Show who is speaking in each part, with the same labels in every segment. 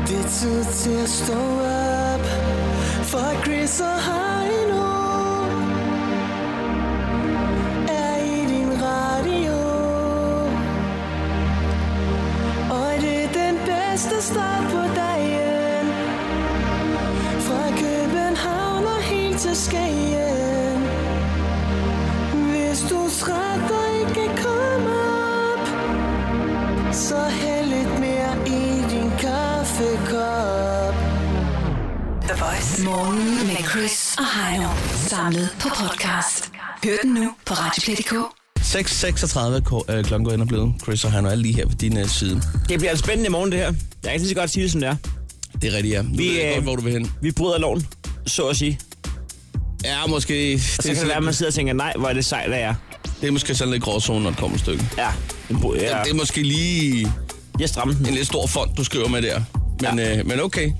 Speaker 1: altid til at stå op For Chris og Heino Er i din radio Og det er den bedste start på dagen Fra København og helt til Skagen Hvis du trætter ikke kan komme op Så hæld lidt mere i din kaffekop
Speaker 2: The Voice. Morgen med Chris og Heino. Samlet på podcast. Hør den nu på Radioplay.dk.
Speaker 3: 6.36 ko- øh, klokken går ind og blevet. Chris og han er lige her på din øh, side.
Speaker 4: Det bliver en spændende morgen, det her. Jeg kan lige så godt sige det, som det er.
Speaker 3: Det er rigtigt, ja. Nu
Speaker 4: Vi,
Speaker 3: vi, ved jeg
Speaker 4: øh,
Speaker 3: godt, hvor du vil hen.
Speaker 4: Vi bryder loven, så at sige.
Speaker 3: Ja, måske...
Speaker 4: Og så
Speaker 3: Det er,
Speaker 4: kan det være, at
Speaker 3: sådan,
Speaker 4: man sidder og tænker, nej, hvor er det sejt, at jeg er.
Speaker 3: det er måske sådan lidt gråzone, når det kommer et stykke.
Speaker 4: Ja, en bry-
Speaker 3: Ja.
Speaker 4: ja.
Speaker 3: Det er måske lige
Speaker 4: jeg strammer den.
Speaker 3: en lidt stor fond, du skriver med der. Men, ja. øh, men okay.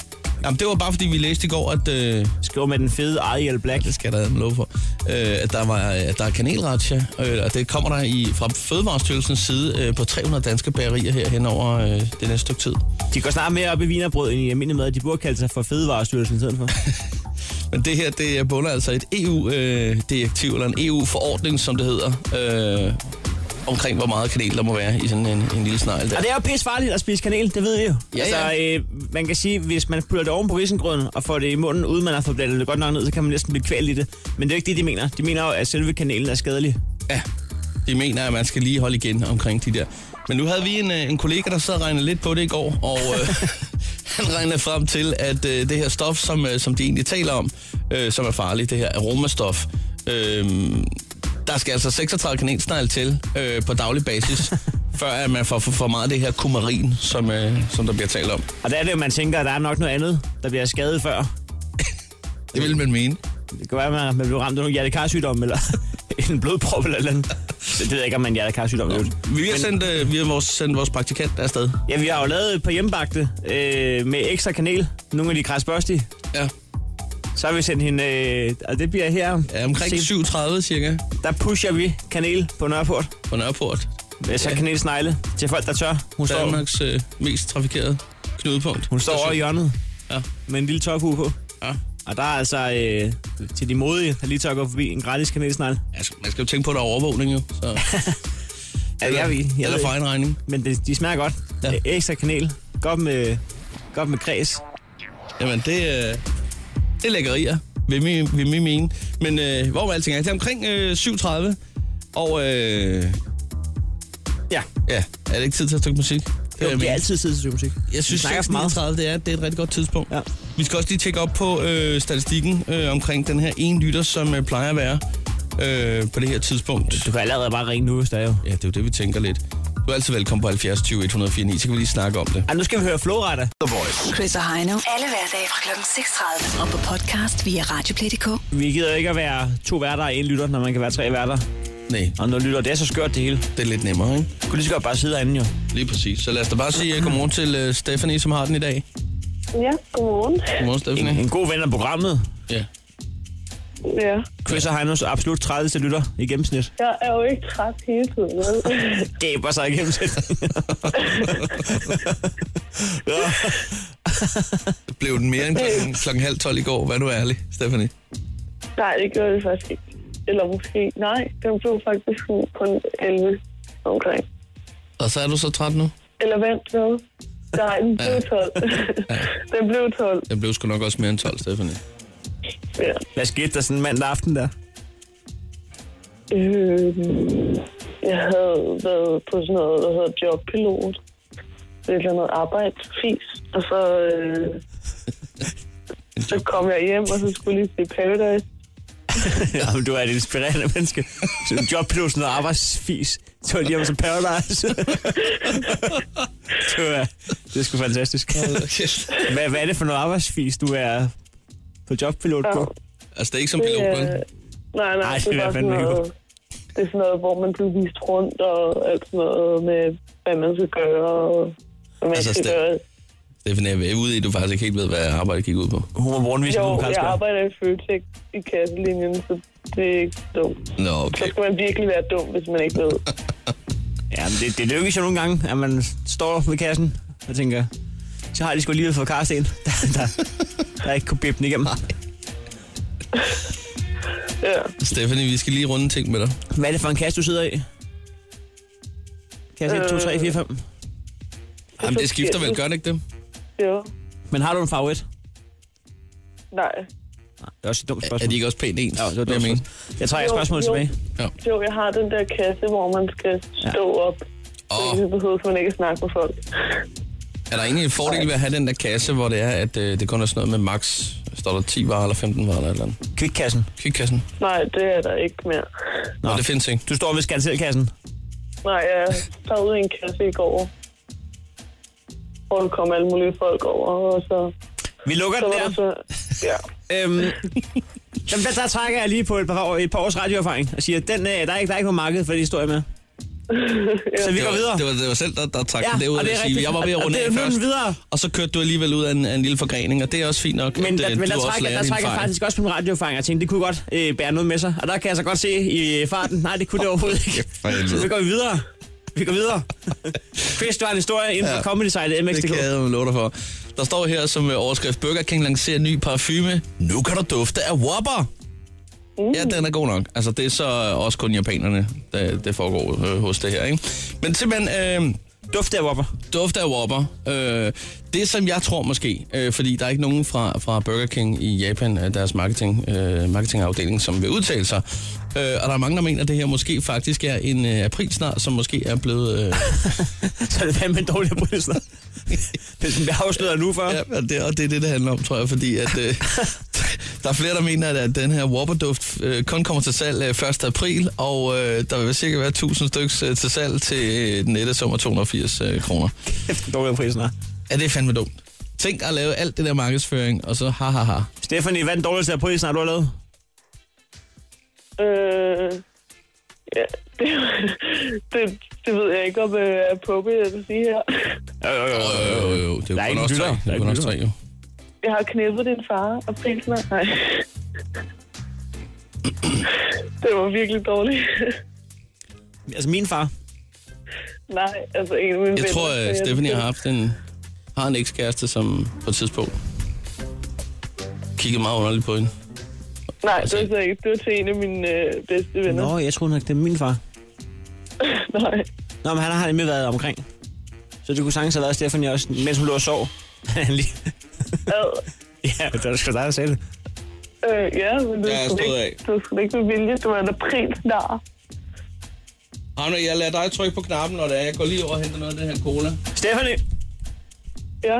Speaker 3: Jamen, det var bare, fordi vi læste i går, at... Øh,
Speaker 4: Skriver med den fede Ariel Black.
Speaker 3: det skal der en lov for. Øh, at der, var, at der er kanelratja, øh, og det kommer der i, fra Fødevarestyrelsens side øh, på 300 danske bagerier her hen over øh, det næste stykke tid.
Speaker 4: De går snart mere op i vinerbrød end i almindelig mad. De burde kalde sig for Fødevarestyrelsen i stedet for.
Speaker 3: Men det her, det er bunder altså i et EU-direktiv, eller en EU-forordning, som det hedder, øh, omkring hvor meget kanel der må være i sådan en, en lille snegl der.
Speaker 4: Og det er jo pisse farligt at spise kanel, det ved vi jo.
Speaker 3: Ja,
Speaker 4: altså,
Speaker 3: ja.
Speaker 4: Øh, man kan sige, hvis man putter det oven på risengrøden og får det i munden, uden man har fået blandet det godt nok ned, så kan man næsten blive kvalt i det. Men det er jo ikke det, de mener. De mener jo, at selve kanelen er skadelig.
Speaker 3: Ja, de mener, at man skal lige holde igen omkring de der. Men nu havde vi en, øh, en kollega, der sad og regnede lidt på det i går, og øh, han regnede frem til, at øh, det her stof, som, øh, som de egentlig taler om, øh, som er farligt, det her aromastof, øh, der skal altså 36 kanelsnegle til øh, på daglig basis, før at man får for, for meget af det her kumarin, som, øh, som der bliver talt om.
Speaker 4: Og der er det jo, man tænker, at der er nok noget andet, der bliver skadet før.
Speaker 3: Det vil man mene.
Speaker 4: Det kan være, at man, man bliver ramt af nogle hjertekarsygdomme, eller en blodprop eller et eller andet. Det ved jeg ikke, om man er en hjertekarsygdom. No.
Speaker 3: Vi har sendt, øh, vi har vores, sendt vores praktikant afsted.
Speaker 4: Ja, vi har jo lavet et par hjemmebagte øh, med ekstra kanel. Nogle af de krasbørstige.
Speaker 3: Ja.
Speaker 4: Så har vi sendt hende, øh, og det bliver her.
Speaker 3: ja omkring
Speaker 4: Sent.
Speaker 3: 7.30 cirka
Speaker 4: Der pusher vi kanel på Nørreport.
Speaker 3: på Nørreport.
Speaker 4: Med så
Speaker 3: Ja.
Speaker 4: kanelsnegle til folk, der tør. Hun står,
Speaker 3: Danmarks øh, mest trafikerede knudepunkt.
Speaker 4: hun står over i hjørnet
Speaker 3: Ja.
Speaker 4: med en lille tørfue på.
Speaker 3: ja.
Speaker 4: Og der er altså øh, til de modige, der lige tør gå forbi en gratis kanelsnegle.
Speaker 3: Altså, man skal jo tænke på, at der er overvågning jo. Så.
Speaker 4: Ja, jeg, jeg, jeg,
Speaker 3: Eller
Speaker 4: ved-
Speaker 3: for egen regning.
Speaker 4: men det, de smager godt.
Speaker 3: Ja.
Speaker 4: Ja. Ekstra kanel. Godt med, godt med kreds.
Speaker 3: Jamen, det, øh, det er lækkerier, vil vi, vil vi mene. Men øh, hvor var alting er? Det er omkring øh, 7.30. Og øh,
Speaker 4: Ja.
Speaker 3: ja, er det ikke tid til at stykke musik? Det
Speaker 4: Jo,
Speaker 3: er
Speaker 4: det er altid tid til syg musik.
Speaker 3: Jeg synes,
Speaker 4: snakker for meget.
Speaker 3: 6.39, det er, det er et rigtig godt tidspunkt.
Speaker 4: Ja.
Speaker 3: Vi skal også lige tjekke op på øh, statistikken øh, omkring den her ene lytter, som øh, plejer at være øh, på det her tidspunkt.
Speaker 4: Du kan allerede bare ringe nu, hvis der er jo.
Speaker 3: Ja, det er jo det, vi tænker lidt. Du er altid velkommen på 70 20 149, så kan vi lige snakke om det.
Speaker 4: Ej, nu skal vi høre Floretta.
Speaker 2: Chris og Heino. Alle hverdage fra kl. 6.30. Og på podcast via Radioplay.dk.
Speaker 4: Vi gider ikke at være to værter og en lytter, når man kan være tre værter
Speaker 3: Nej,
Speaker 4: og noget lytter. Det er så skørt det hele.
Speaker 3: det er lidt nemmere, ikke?
Speaker 4: Du kunne lige så godt bare sidde herinde jo.
Speaker 3: Lige præcis. Så lad os da bare sige uh, godmorgen til uh, Stephanie, som har den i dag.
Speaker 5: Ja, godmorgen.
Speaker 3: Godmorgen,
Speaker 4: En,
Speaker 3: Stephanie.
Speaker 4: en god ven af programmet.
Speaker 3: Ja.
Speaker 5: Ja,
Speaker 4: Chris og Heinos absolut 30 lytter i gennemsnit.
Speaker 5: jeg er jo ikke træt hele tiden. vel?
Speaker 4: Gaber sig i gennemsnit. ja.
Speaker 3: Det blev den mere end klokken, klokken halv tolv i går. Hvad er du ærlig, Stephanie?
Speaker 5: Nej, det gjorde det faktisk ikke. Eller måske, nej, den blev faktisk kun 11 omkring.
Speaker 3: Og så er du så træt nu?
Speaker 5: Eller vent, hvad? Nej, den blev 12. den blev 12,
Speaker 3: Den blev sgu nok også mere end 12, Stephanie.
Speaker 5: ja.
Speaker 4: Hvad skete der sådan en mandag aften der?
Speaker 5: Øh, jeg havde været på sådan noget, der hedder jobpilot. Det er et eller andet arbejdsfis. Og så, øh, så kom jeg hjem, og så skulle jeg lige se Paradise.
Speaker 4: Jamen, du er et inspirerende menneske. Så en jobpilot, sådan noget arbejdsfis. Så var det hjemme som Paradise. du er, det er sgu fantastisk. Hvad, hvad er det for noget arbejdsfis, du er på jobpilot
Speaker 5: Ja.
Speaker 4: på?
Speaker 3: altså, det er ikke som
Speaker 5: Det,
Speaker 3: pilot, vel?
Speaker 5: øh, Nej, nej,
Speaker 4: Ej, det
Speaker 5: det, det
Speaker 4: vil
Speaker 5: var
Speaker 4: jeg
Speaker 5: sådan
Speaker 4: fandme ikke
Speaker 5: noget, det er sådan noget, hvor man blev vist rundt og alt sådan noget med, hvad man skal gøre og hvad man
Speaker 3: Altså,
Speaker 5: altså, skal
Speaker 3: sta-
Speaker 5: gøre.
Speaker 3: Stephanie, jeg er ude i, at du faktisk ikke helt ved, hvad arbejdet gik ud på.
Speaker 4: Hun var morgenvis,
Speaker 5: Jo,
Speaker 4: hun
Speaker 5: jeg arbejder i Føtex i kasselinjen, så det er ikke dumt.
Speaker 3: Nå,
Speaker 5: Så
Speaker 3: okay.
Speaker 5: skal man virkelig være dum, hvis man ikke ved.
Speaker 4: Ja, men det, det lykkes jo nogle gange, at man står ved kassen og tænker, så har de sgu alligevel fået karsten, der, der, der ikke kunne bippe den igennem.
Speaker 5: Ja.
Speaker 3: Stephanie, vi skal lige runde en ting med dig.
Speaker 4: Hvad er det for en kasse, du sidder i? Kasse 1, 2, 3, 4, 5.
Speaker 3: Jamen, det skifter vel, gør det ikke det?
Speaker 5: Jo.
Speaker 4: Men har du en favorit?
Speaker 5: Nej.
Speaker 4: Det er også et dumt
Speaker 3: Er
Speaker 4: spørgsmål.
Speaker 3: de ikke også pænt ens?
Speaker 4: Ja, det var et
Speaker 3: Hvad
Speaker 4: dumt
Speaker 3: jeg mener?
Speaker 4: spørgsmål. Jeg trækker
Speaker 5: Jo,
Speaker 4: spørgsmålet
Speaker 5: jo.
Speaker 4: tilbage.
Speaker 5: Jo, jeg har den der kasse, hvor man skal stå op.
Speaker 3: Åh.
Speaker 5: Oh. Det behøver man ikke at snakke med folk.
Speaker 3: Er der egentlig en fordel ved at have den der kasse, hvor det er, at øh, det kun er sådan noget med max, står der 10 varer eller 15 varer eller et eller andet?
Speaker 4: Kvikkassen.
Speaker 3: Kvikkassen.
Speaker 5: Nej, det er der ikke mere.
Speaker 3: Nå, det findes ikke.
Speaker 4: Du står ved skanselkassen.
Speaker 5: Nej, jeg tager ud i en kasse i går, hvor der kom alle mulige folk over, og så,
Speaker 4: Vi lukker
Speaker 5: så
Speaker 4: den
Speaker 5: var
Speaker 4: der.
Speaker 5: der så... Ja,
Speaker 4: Øhm, jamen, der, der trækker jeg lige på et par, år, et par års radioerfaring og siger, den, øh, der, er ikke, der er ikke på markedet for det historie med. Så vi
Speaker 3: Det
Speaker 4: går
Speaker 3: var,
Speaker 4: videre.
Speaker 3: det var, det var selv, der, der trak
Speaker 4: Ja,
Speaker 3: ja, det ud.
Speaker 4: og det er
Speaker 3: at sige,
Speaker 4: rigtigt.
Speaker 3: Jeg var ved at
Speaker 4: Og- og
Speaker 3: runde
Speaker 4: det er
Speaker 3: af
Speaker 4: nu den
Speaker 3: først,
Speaker 4: videre.
Speaker 3: og så kørte du alligevel ud af en, af en lille forgrening, og det er også fint nok,
Speaker 4: Men,
Speaker 3: at
Speaker 4: der,
Speaker 3: øh,
Speaker 4: men
Speaker 3: du
Speaker 4: der
Speaker 3: også
Speaker 4: trækker,
Speaker 3: lærer
Speaker 4: der
Speaker 3: din
Speaker 4: trækker jeg
Speaker 3: fejl.
Speaker 4: faktisk også min radioerfaring. Jeg tænkte, det kunne godt øh, bære noget med sig. Og der kan jeg så godt se i øh, farten, nej, det kunne det overhovedet ikke.
Speaker 3: Kæft, for helvede.
Speaker 4: Så vi går videre. Vi går videre. Chris, du har en historie inden for
Speaker 3: Ja.
Speaker 4: ja. Comedy Site
Speaker 3: Det
Speaker 4: MX.dk.
Speaker 3: kan jeg love dig for. Der står her som øh, overskrift, Burger King lancerer ny parfume. Nu kan du dufte af Whopper. Mm. Ja, den er god nok. Altså, det er så øh, også kun japanerne, der, det foregår øh, hos det her, ikke? Men simpelthen, øh,
Speaker 4: Duft af Whopper.
Speaker 3: duft af Whopper. Øh, det, som jeg tror måske, øh, fordi der er ikke nogen fra, fra Burger King i Japan, øh, deres marketing, øh, marketingafdeling, som vil udtale sig. Øh, og der er mange, der mener, at det her måske faktisk er en øh, aprilsnar, som måske er blevet... Øh,
Speaker 4: Så er det fandme en dårlig oprindelse. Hvis den bliver afsløret nu for. Ja.
Speaker 3: Ja, og det, og det er det, det handler om, tror jeg, fordi at, øh, der er flere, der mener, at, at den her Whopper-duft øh, kun kommer til salg øh, 1. april, og øh, der vil cirka være 1000 stykker øh, til salg til øh, den nette sum af 280 øh, kroner.
Speaker 4: Efter en dårlig oprindelse.
Speaker 3: Er det fandme dumt? Tænk at lave alt det der markedsføring, og så ha ha ha.
Speaker 4: Stephanie, hvad er den dårligste oprindelse, du har lavet?
Speaker 5: øh, ja det, det, det ved jeg ikke, om øh, er appropriate at sige her.
Speaker 4: Jo, jo, jo.
Speaker 3: Øh, jo, jo, det
Speaker 4: Der
Speaker 3: er
Speaker 4: er
Speaker 3: jo
Speaker 4: ikke
Speaker 3: kun os tre.
Speaker 4: lytter.
Speaker 3: Det
Speaker 4: Der
Speaker 3: er
Speaker 4: er
Speaker 3: kun
Speaker 4: ikke
Speaker 3: os tre, jo.
Speaker 5: Jeg har knippet din far og pilsner. Nej. Det var virkelig dårligt.
Speaker 4: Altså min far.
Speaker 5: Nej, altså en af mine
Speaker 3: Jeg
Speaker 5: venner,
Speaker 3: tror,
Speaker 5: så
Speaker 3: at Stephanie har haft en, har en ekskæreste, som på et tidspunkt kiggede meget underligt på hende.
Speaker 5: Nej, det var så ikke. Det var til en af mine øh, bedste venner.
Speaker 4: Nå, jeg troede nok, det er min far.
Speaker 5: Nej.
Speaker 4: Nå, men han har nemlig været omkring. Så det kunne sagtens have været Stephanie også, mens hun lå og sov. Han lige-
Speaker 5: Ad.
Speaker 4: ja, det var sgu dig, der sagde det.
Speaker 5: Øh, ja, men det
Speaker 3: Ja, jeg
Speaker 5: var sgu
Speaker 3: stod
Speaker 5: ikke, det var sgu da ikke med vilje. Det var en aprilsnar.
Speaker 3: Arne, jeg lader dig trykke på knappen, når det er. Jeg går lige over og henter noget af den her cola.
Speaker 4: Stephanie!
Speaker 5: Ja.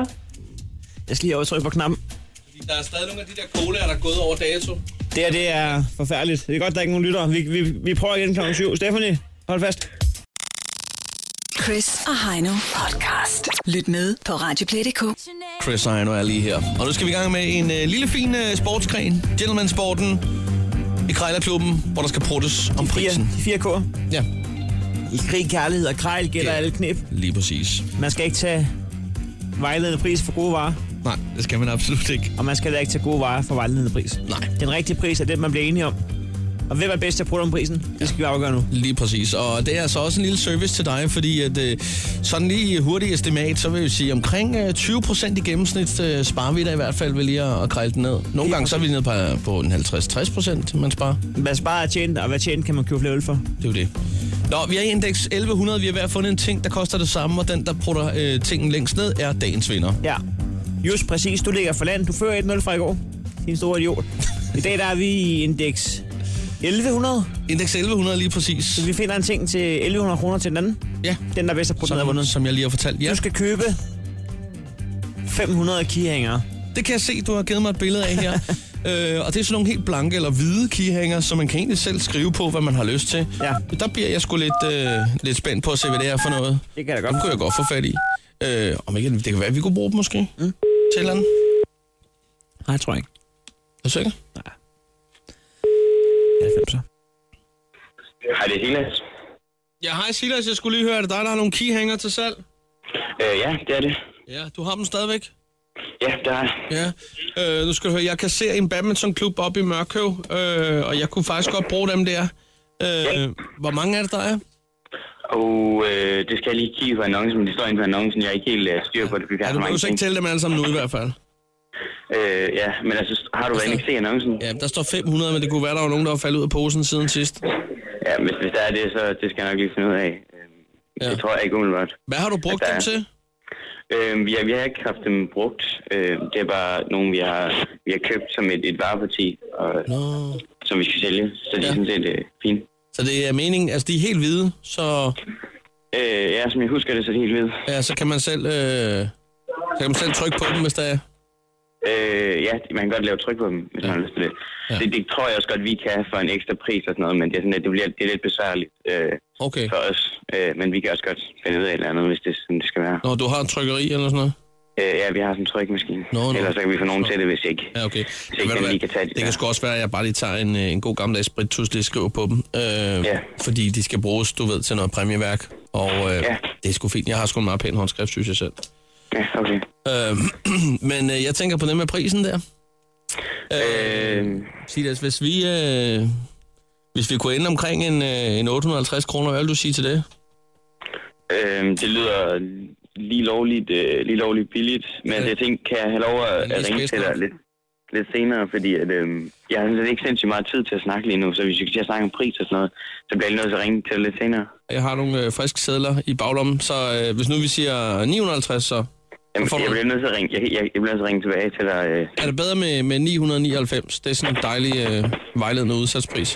Speaker 4: Jeg skal lige over og trykke på knappen.
Speaker 3: Fordi der er stadig nogle af de der colaer, der er gået over dato.
Speaker 4: Det her, det er forfærdeligt. Det er godt, der er ikke nogen lytter. Vi, vi, vi prøver igen kl. 7. Stephanie, hold fast.
Speaker 2: Chris og Heino podcast. Lyt med på Radioplay.dk.
Speaker 3: Chris Heino er lige her. Og nu skal vi i gang med en øh, lille fin øh, sportsgren. Gentleman-sporten i Krejlerklubben, hvor der skal pruttes om prisen.
Speaker 4: 4, 4K.
Speaker 3: Ja,
Speaker 4: I krig, kærlighed og krejl gælder
Speaker 3: Ja.
Speaker 4: alle knep.
Speaker 3: lige præcis.
Speaker 4: Man skal ikke tage vejledende pris for gode varer,
Speaker 3: Nej, det skal man absolut ikke.
Speaker 4: og man skal heller ikke tage gode varer for vejledende pris.
Speaker 3: Nej.
Speaker 4: Den rigtige pris er den, man bliver enige om. Og hvem er bedst til at bruge om prisen? Det skal vi afgøre nu.
Speaker 3: Lige præcis, og det er altså også en lille service til dig, fordi at, øh, sådan lige hurtigt estimat, så vil vi sige omkring øh, 20 procent i gennemsnit øh, sparer vi da i hvert fald ved lige at, at krejle den ned. Nogle gange så er vi nede på, øh, på en 50-60 procent, man sparer.
Speaker 4: Hvad sparer er tjent, og hvad tjent kan man købe flere øl for?
Speaker 3: Det er jo det. Nå, vi er i indeks 1100, vi har hver fundet en ting, der koster det samme, og den, der putter øh, tingen længst ned, er dagens vinder.
Speaker 4: Ja. Just præcis, du ligger for land. Du fører 1-0 fra i går. Din store idiot. I dag der er vi i indeks 1100.
Speaker 3: Indeks 1100 lige præcis.
Speaker 4: Så vi finder en ting til 1100 kroner til den anden.
Speaker 3: Ja,
Speaker 4: Den, der er bedst at bruge den, er
Speaker 3: som,
Speaker 4: vundet.
Speaker 3: som jeg lige har fortalt. Ja,
Speaker 4: Du skal købe 500 kihængere.
Speaker 3: det kan jeg se, du har givet mig et billede af her. øh, og det er sådan nogle helt blanke eller hvide keyhænger, så man kan egentlig selv skrive på, hvad man har lyst til.
Speaker 4: Ja.
Speaker 3: Der bliver jeg sgu lidt, øh, lidt spændt på at se, hvad det er for noget.
Speaker 4: Det kan jeg da
Speaker 3: Dem
Speaker 4: godt.
Speaker 3: kunne jeg godt få fat i. Øh, om ikke, det kan være, at vi kunne bruge dem måske. Mm. Til et eller andet.
Speaker 4: Nej, jeg tror ikke.
Speaker 3: Er du sikker?
Speaker 4: 90'er.
Speaker 6: Hej, det er Silas.
Speaker 3: Ja, hej Silas, jeg skulle lige høre, er det dig, der har nogle keyhænger til salg?
Speaker 6: Øh, ja, det er det.
Speaker 3: Ja, du har dem stadigvæk?
Speaker 6: Ja, der er
Speaker 3: Ja, øh, nu skal du høre, jeg kasserer en badmintonklub op i Mørkøv, øh, og jeg kunne faktisk godt bruge dem der. Øh, Hvor mange er det, der er?
Speaker 6: Og øh, det skal jeg lige kigge på annoncen, men det står inde på annoncen. Jeg er ikke helt øh, styr på det, fordi vi
Speaker 3: Ja,
Speaker 6: har så
Speaker 3: du behøver
Speaker 6: mange
Speaker 3: så ikke
Speaker 6: ting.
Speaker 3: tælle dem alle sammen nu i hvert fald.
Speaker 6: Øh, ja, men altså, har du været inde og se annoncen?
Speaker 3: Ja, der står 500, men det kunne være, der var nogen, der var faldet ud af posen siden sidst.
Speaker 6: Ja, hvis, hvis der er det, så det skal jeg nok lige finde ud af. Øh,
Speaker 3: Ja.
Speaker 6: Det tror jeg ikke umiddelbart.
Speaker 3: Hvad har du brugt
Speaker 6: Ja.
Speaker 3: dem til?
Speaker 6: Øh, ja, vi har ikke haft dem brugt. Øh, det er bare nogle, vi har, vi har købt som et, et vareparti, og,
Speaker 3: Nå.
Speaker 6: som vi skal sælge. Så det er
Speaker 3: Ja.
Speaker 6: sådan set øh, fint.
Speaker 3: Så det er meningen, altså de er helt hvide, så,
Speaker 6: Øh, ja, som jeg husker det, så er det helt ved.
Speaker 3: ja, så kan man selv... Øh, så kan man selv trykke på dem, hvis der er...
Speaker 6: Øh, ja, man kan godt lave tryk på dem, hvis ja. man har lyst til det.
Speaker 3: Ja.
Speaker 6: Ja. det. Det tror jeg også godt, vi kan for en ekstra pris og sådan noget, men det er, sådan, at det bliver det er lidt besværligt øh,
Speaker 3: Okay.
Speaker 6: for os. Øh, men vi kan også godt finde ud af et eller andet, hvis det er sådan, det skal være.
Speaker 3: Når du har et trykkeri eller sådan noget?
Speaker 6: Øh, ja, vi har sådan en trykmaskine.
Speaker 3: Nå, nå.
Speaker 6: Ellers så kan vi få nogen til det, hvis ikke.
Speaker 3: Ja, okay.
Speaker 6: ikke
Speaker 3: Ved du
Speaker 6: man
Speaker 3: hvad,
Speaker 6: lige kan tage de
Speaker 3: det kan
Speaker 6: der.
Speaker 3: sgu også være, at jeg bare lige tager en, øh, en god gammeldags sprittus, lige skriver på dem. Øh, ja. Fordi de skal bruges, du ved, til noget præmieværk. Og øh, ja.
Speaker 6: Ja.
Speaker 3: det er sgu fint. Jeg har sgu en meget pæn håndskrift, synes jeg selv.
Speaker 6: Ja, okay.
Speaker 3: Øh, men øh, jeg tænker på det med prisen der.
Speaker 6: Øh,
Speaker 3: Sig det, altså, hvis vi... Øh, hvis vi kunne ende omkring en, øh, en 850 kroner, hvad vil du sige til det?
Speaker 6: øh, det lyder lige lovligt, øh, lige lovligt billigt, men
Speaker 3: Ja.
Speaker 6: ja. jeg tænkte, kan jeg have lov at,
Speaker 3: Men lige
Speaker 6: at ringe
Speaker 3: spids
Speaker 6: til
Speaker 3: nok.
Speaker 6: dig lidt, lidt senere, fordi at, øh, jeg har sådan set ikke sindssygt meget tid til at snakke lige nu, så hvis vi skal til at snakke om pris og sådan noget, så bliver jeg lige nødt til at ringe til dig lidt senere.
Speaker 3: Jeg har nogle øh, friske sædler i baglommen, så øh, hvis nu vi siger 950, så
Speaker 6: Jamen, jeg
Speaker 3: Hvorfor man-
Speaker 6: bliver nødt til at ringe, jeg, jeg, jeg bliver nødt til at ringe tilbage til dig. øh.
Speaker 3: er det bedre med, med 999. Det er sådan en dejlig øh, vejledende udsatspris.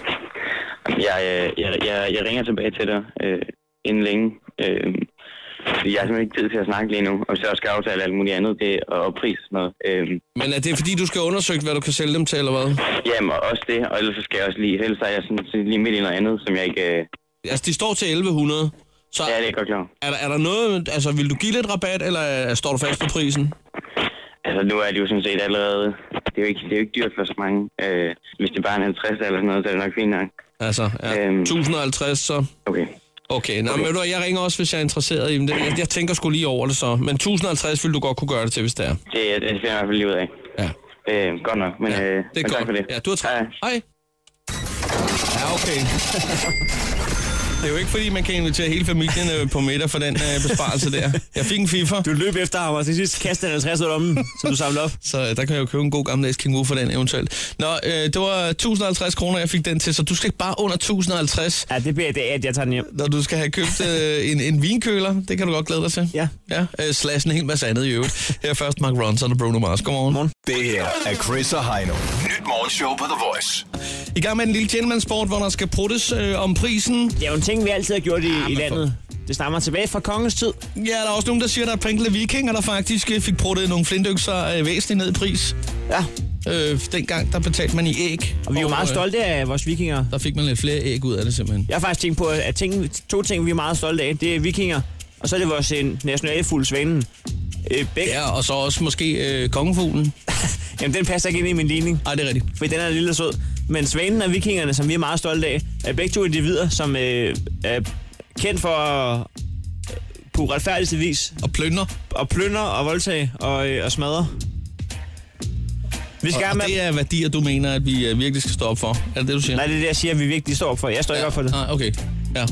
Speaker 6: Jeg, øh, jeg, jeg, jeg ringer tilbage til dig øh, inden længe. Øh, fordi jeg har simpelthen ikke tid til at snakke lige nu, og så skal jeg aftale alt muligt andet, det og, og pris og sådan noget. Øh,
Speaker 3: Men er det fordi, du skal have undersøgt, hvad du kan sælge dem til, eller hvad?
Speaker 6: jamen, og også det, og ellers så skal jeg også lige, ellers er jeg sådan, set lige midt i noget andet, som jeg ikke... Øh,
Speaker 3: Altså, de står til 1100. Så
Speaker 6: ja, det er jeg godt klar. over.
Speaker 3: er, der, er der noget... Altså, vil du give lidt rabat, eller øh, står du fast på prisen?
Speaker 6: Altså, nu er det jo sådan set allerede... Det er jo ikke, det er jo ikke dyrt for så mange. Øh, hvis det bare er en 50 eller sådan noget, så er det nok fint nok.
Speaker 3: Altså, ja,
Speaker 6: Øhm.
Speaker 3: 1050, så...
Speaker 6: Okay.
Speaker 3: Okay, nå, men ved du, hvad, jeg ringer også, hvis jeg er interesseret i dem. Det- Jeg, jeg tænker sgu lige over det så. Men 1050 vil du godt kunne gøre det til, hvis det er.
Speaker 6: Det, det finder jeg i hvert fald lige ud af.
Speaker 3: Ja,
Speaker 6: Øh, godt nok, men,
Speaker 3: ja
Speaker 6: øh,
Speaker 3: det
Speaker 6: men
Speaker 3: er
Speaker 6: tak
Speaker 3: godt.
Speaker 6: for det.
Speaker 3: Ja, du har travlt.
Speaker 6: Hej.
Speaker 3: Hej. Ja, okay. Det er jo ikke, fordi man kan invitere hele familien øh, på middag for den øh, besparelse der. Jeg fik en fifer.
Speaker 4: Du løb efter ham, og til sidst kastede han 50 ud af lommen, som du samlede op.
Speaker 3: Så øh, der kan jeg jo købe en god gammeldags kænguru for den eventuelt. Nå, øh, det var 1050 kroner, jeg fik den til, så du skal ikke bare under 1050,
Speaker 4: Ja, det bliver det, at jeg tager den hjem.
Speaker 3: når du skal have købt øh, en, en vinkøler. Det kan du godt glæde dig til.
Speaker 4: Ja.
Speaker 3: ja øh, slash en hel masse andet i øvrigt. Her er først Mark Ronson og Bruno Mars. Godmorgen. Godmorgen.
Speaker 7: Det her er Chris og Heino. Nyt morgenshow på The Voice.
Speaker 3: I gang med en lille gentleman-sport, hvor der skal pruttes øh, om prisen.
Speaker 4: Det er jo en ting, vi altid har gjort i,
Speaker 3: Ah,
Speaker 4: ah, i
Speaker 3: men
Speaker 4: landet. Det stammer tilbage fra kongens tid.
Speaker 3: Ja, der er også nogen, der siger, at der er et par enkelte vikinger, der faktisk øh, fik pruttet nogle flintøkser øh, væsentligt ned i pris.
Speaker 4: Ja,
Speaker 3: Øh, dengang, der betalte man i æg.
Speaker 4: og vi er jo meget
Speaker 3: øh,
Speaker 4: stolte af vores vikinger.
Speaker 3: Der fik man lidt flere æg ud af det simpelthen.
Speaker 4: Jeg har faktisk tænkt på, at ting, to ting, vi er meget stolte af, det er vikinger, og så er det vores øh, nationale fugl, svanen. Øh, bæk. Ja.
Speaker 3: Ja, og så også måske øh, kongefuglen.
Speaker 4: Jamen, den passer ikke ind i min ligning,
Speaker 3: Ej, det er rigtigt.
Speaker 4: for den er lille og sød. Men svanen og vikingerne, som vi er meget stolte af, er begge to individer, som øh, er kendt for at- på uretfærdigste vis
Speaker 3: Og plønder.
Speaker 4: og plønder og voldtage og, øh, og smadre. Vi skal
Speaker 3: Og,
Speaker 4: i gang
Speaker 3: og
Speaker 4: med...
Speaker 3: det er værdier, du mener, at vi øh, virkelig skal stå op for. Er det det, du siger?
Speaker 4: Nej, det er det, jeg siger, at vi virkelig står op for. Jeg står ikke op for det.
Speaker 3: Nej, okay. Ja.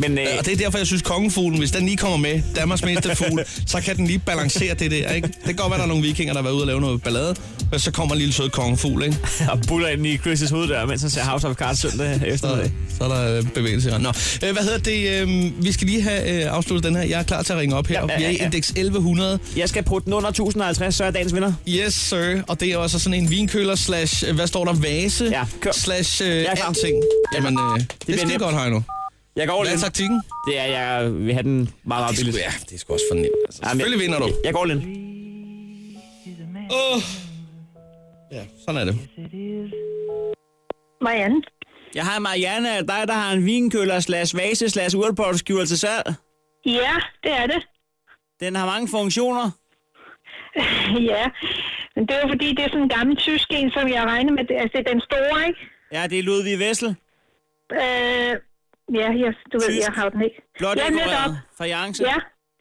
Speaker 4: Men øh,
Speaker 3: Og det er derfor, jeg synes, kongefuglen, hvis den lige kommer med, Danmarks mindste fugl, så kan den lige balancere det der, ikke? Det kan godt være, der er nogle vikinger, der har været ude og lave noget ballade, men så kommer en lille sød kongefugl, ikke?
Speaker 4: og buller ind i Chris' hoveddør, mens han ser House of Cards søndag
Speaker 3: Så,
Speaker 4: eftermiddag.
Speaker 3: så er der øh, bevægelse her. Nå, øh, hvad hedder det? Øh, vi skal lige have øh, afsluttet den her. Jeg er klar til at ringe op her.
Speaker 4: Ja,
Speaker 3: og
Speaker 4: ja,
Speaker 3: vi er i
Speaker 4: ja, ja.
Speaker 3: indeks 1100.
Speaker 4: Jeg skal putte den under 1050, så er dagens vinder.
Speaker 3: Yes, sir. Og det er også sådan en vinkøler slash, øh, hvad står der, vase?
Speaker 4: Ja, kør.
Speaker 3: Slash øh,
Speaker 4: er klar.
Speaker 3: alting. Jamen, øh, det, det
Speaker 4: nemt.
Speaker 3: skal godt, Heino.
Speaker 4: Jeg går
Speaker 3: Hvad er
Speaker 4: lidt.
Speaker 3: taktikken?
Speaker 4: Det er, jeg vil have den meget, meget billigt.
Speaker 3: ja, det er sgu også for nemt. Altså,
Speaker 4: Jamen,
Speaker 3: selvfølgelig vinder du.
Speaker 4: Jeg går lidt.
Speaker 3: Åh. Ja, sådan er det.
Speaker 5: Marianne?
Speaker 4: Jeg har Marianne, er det dig, der har en vinkøller slash vase slash urtepotteskiver til salg.
Speaker 5: Ja, det er det.
Speaker 4: Den har mange funktioner.
Speaker 5: Ja, men det er jo fordi, det er sådan en gammel tysk en, som jeg regner med. Altså, det er den store, ikke?
Speaker 4: Ja, det er Ludvig Vessel.
Speaker 5: Øh, ja, jeg, du ved,
Speaker 4: Tysk.
Speaker 5: jeg har den ikke.
Speaker 4: Blot
Speaker 5: ja, netop.
Speaker 4: dekoreret fra Jance.
Speaker 5: Ja,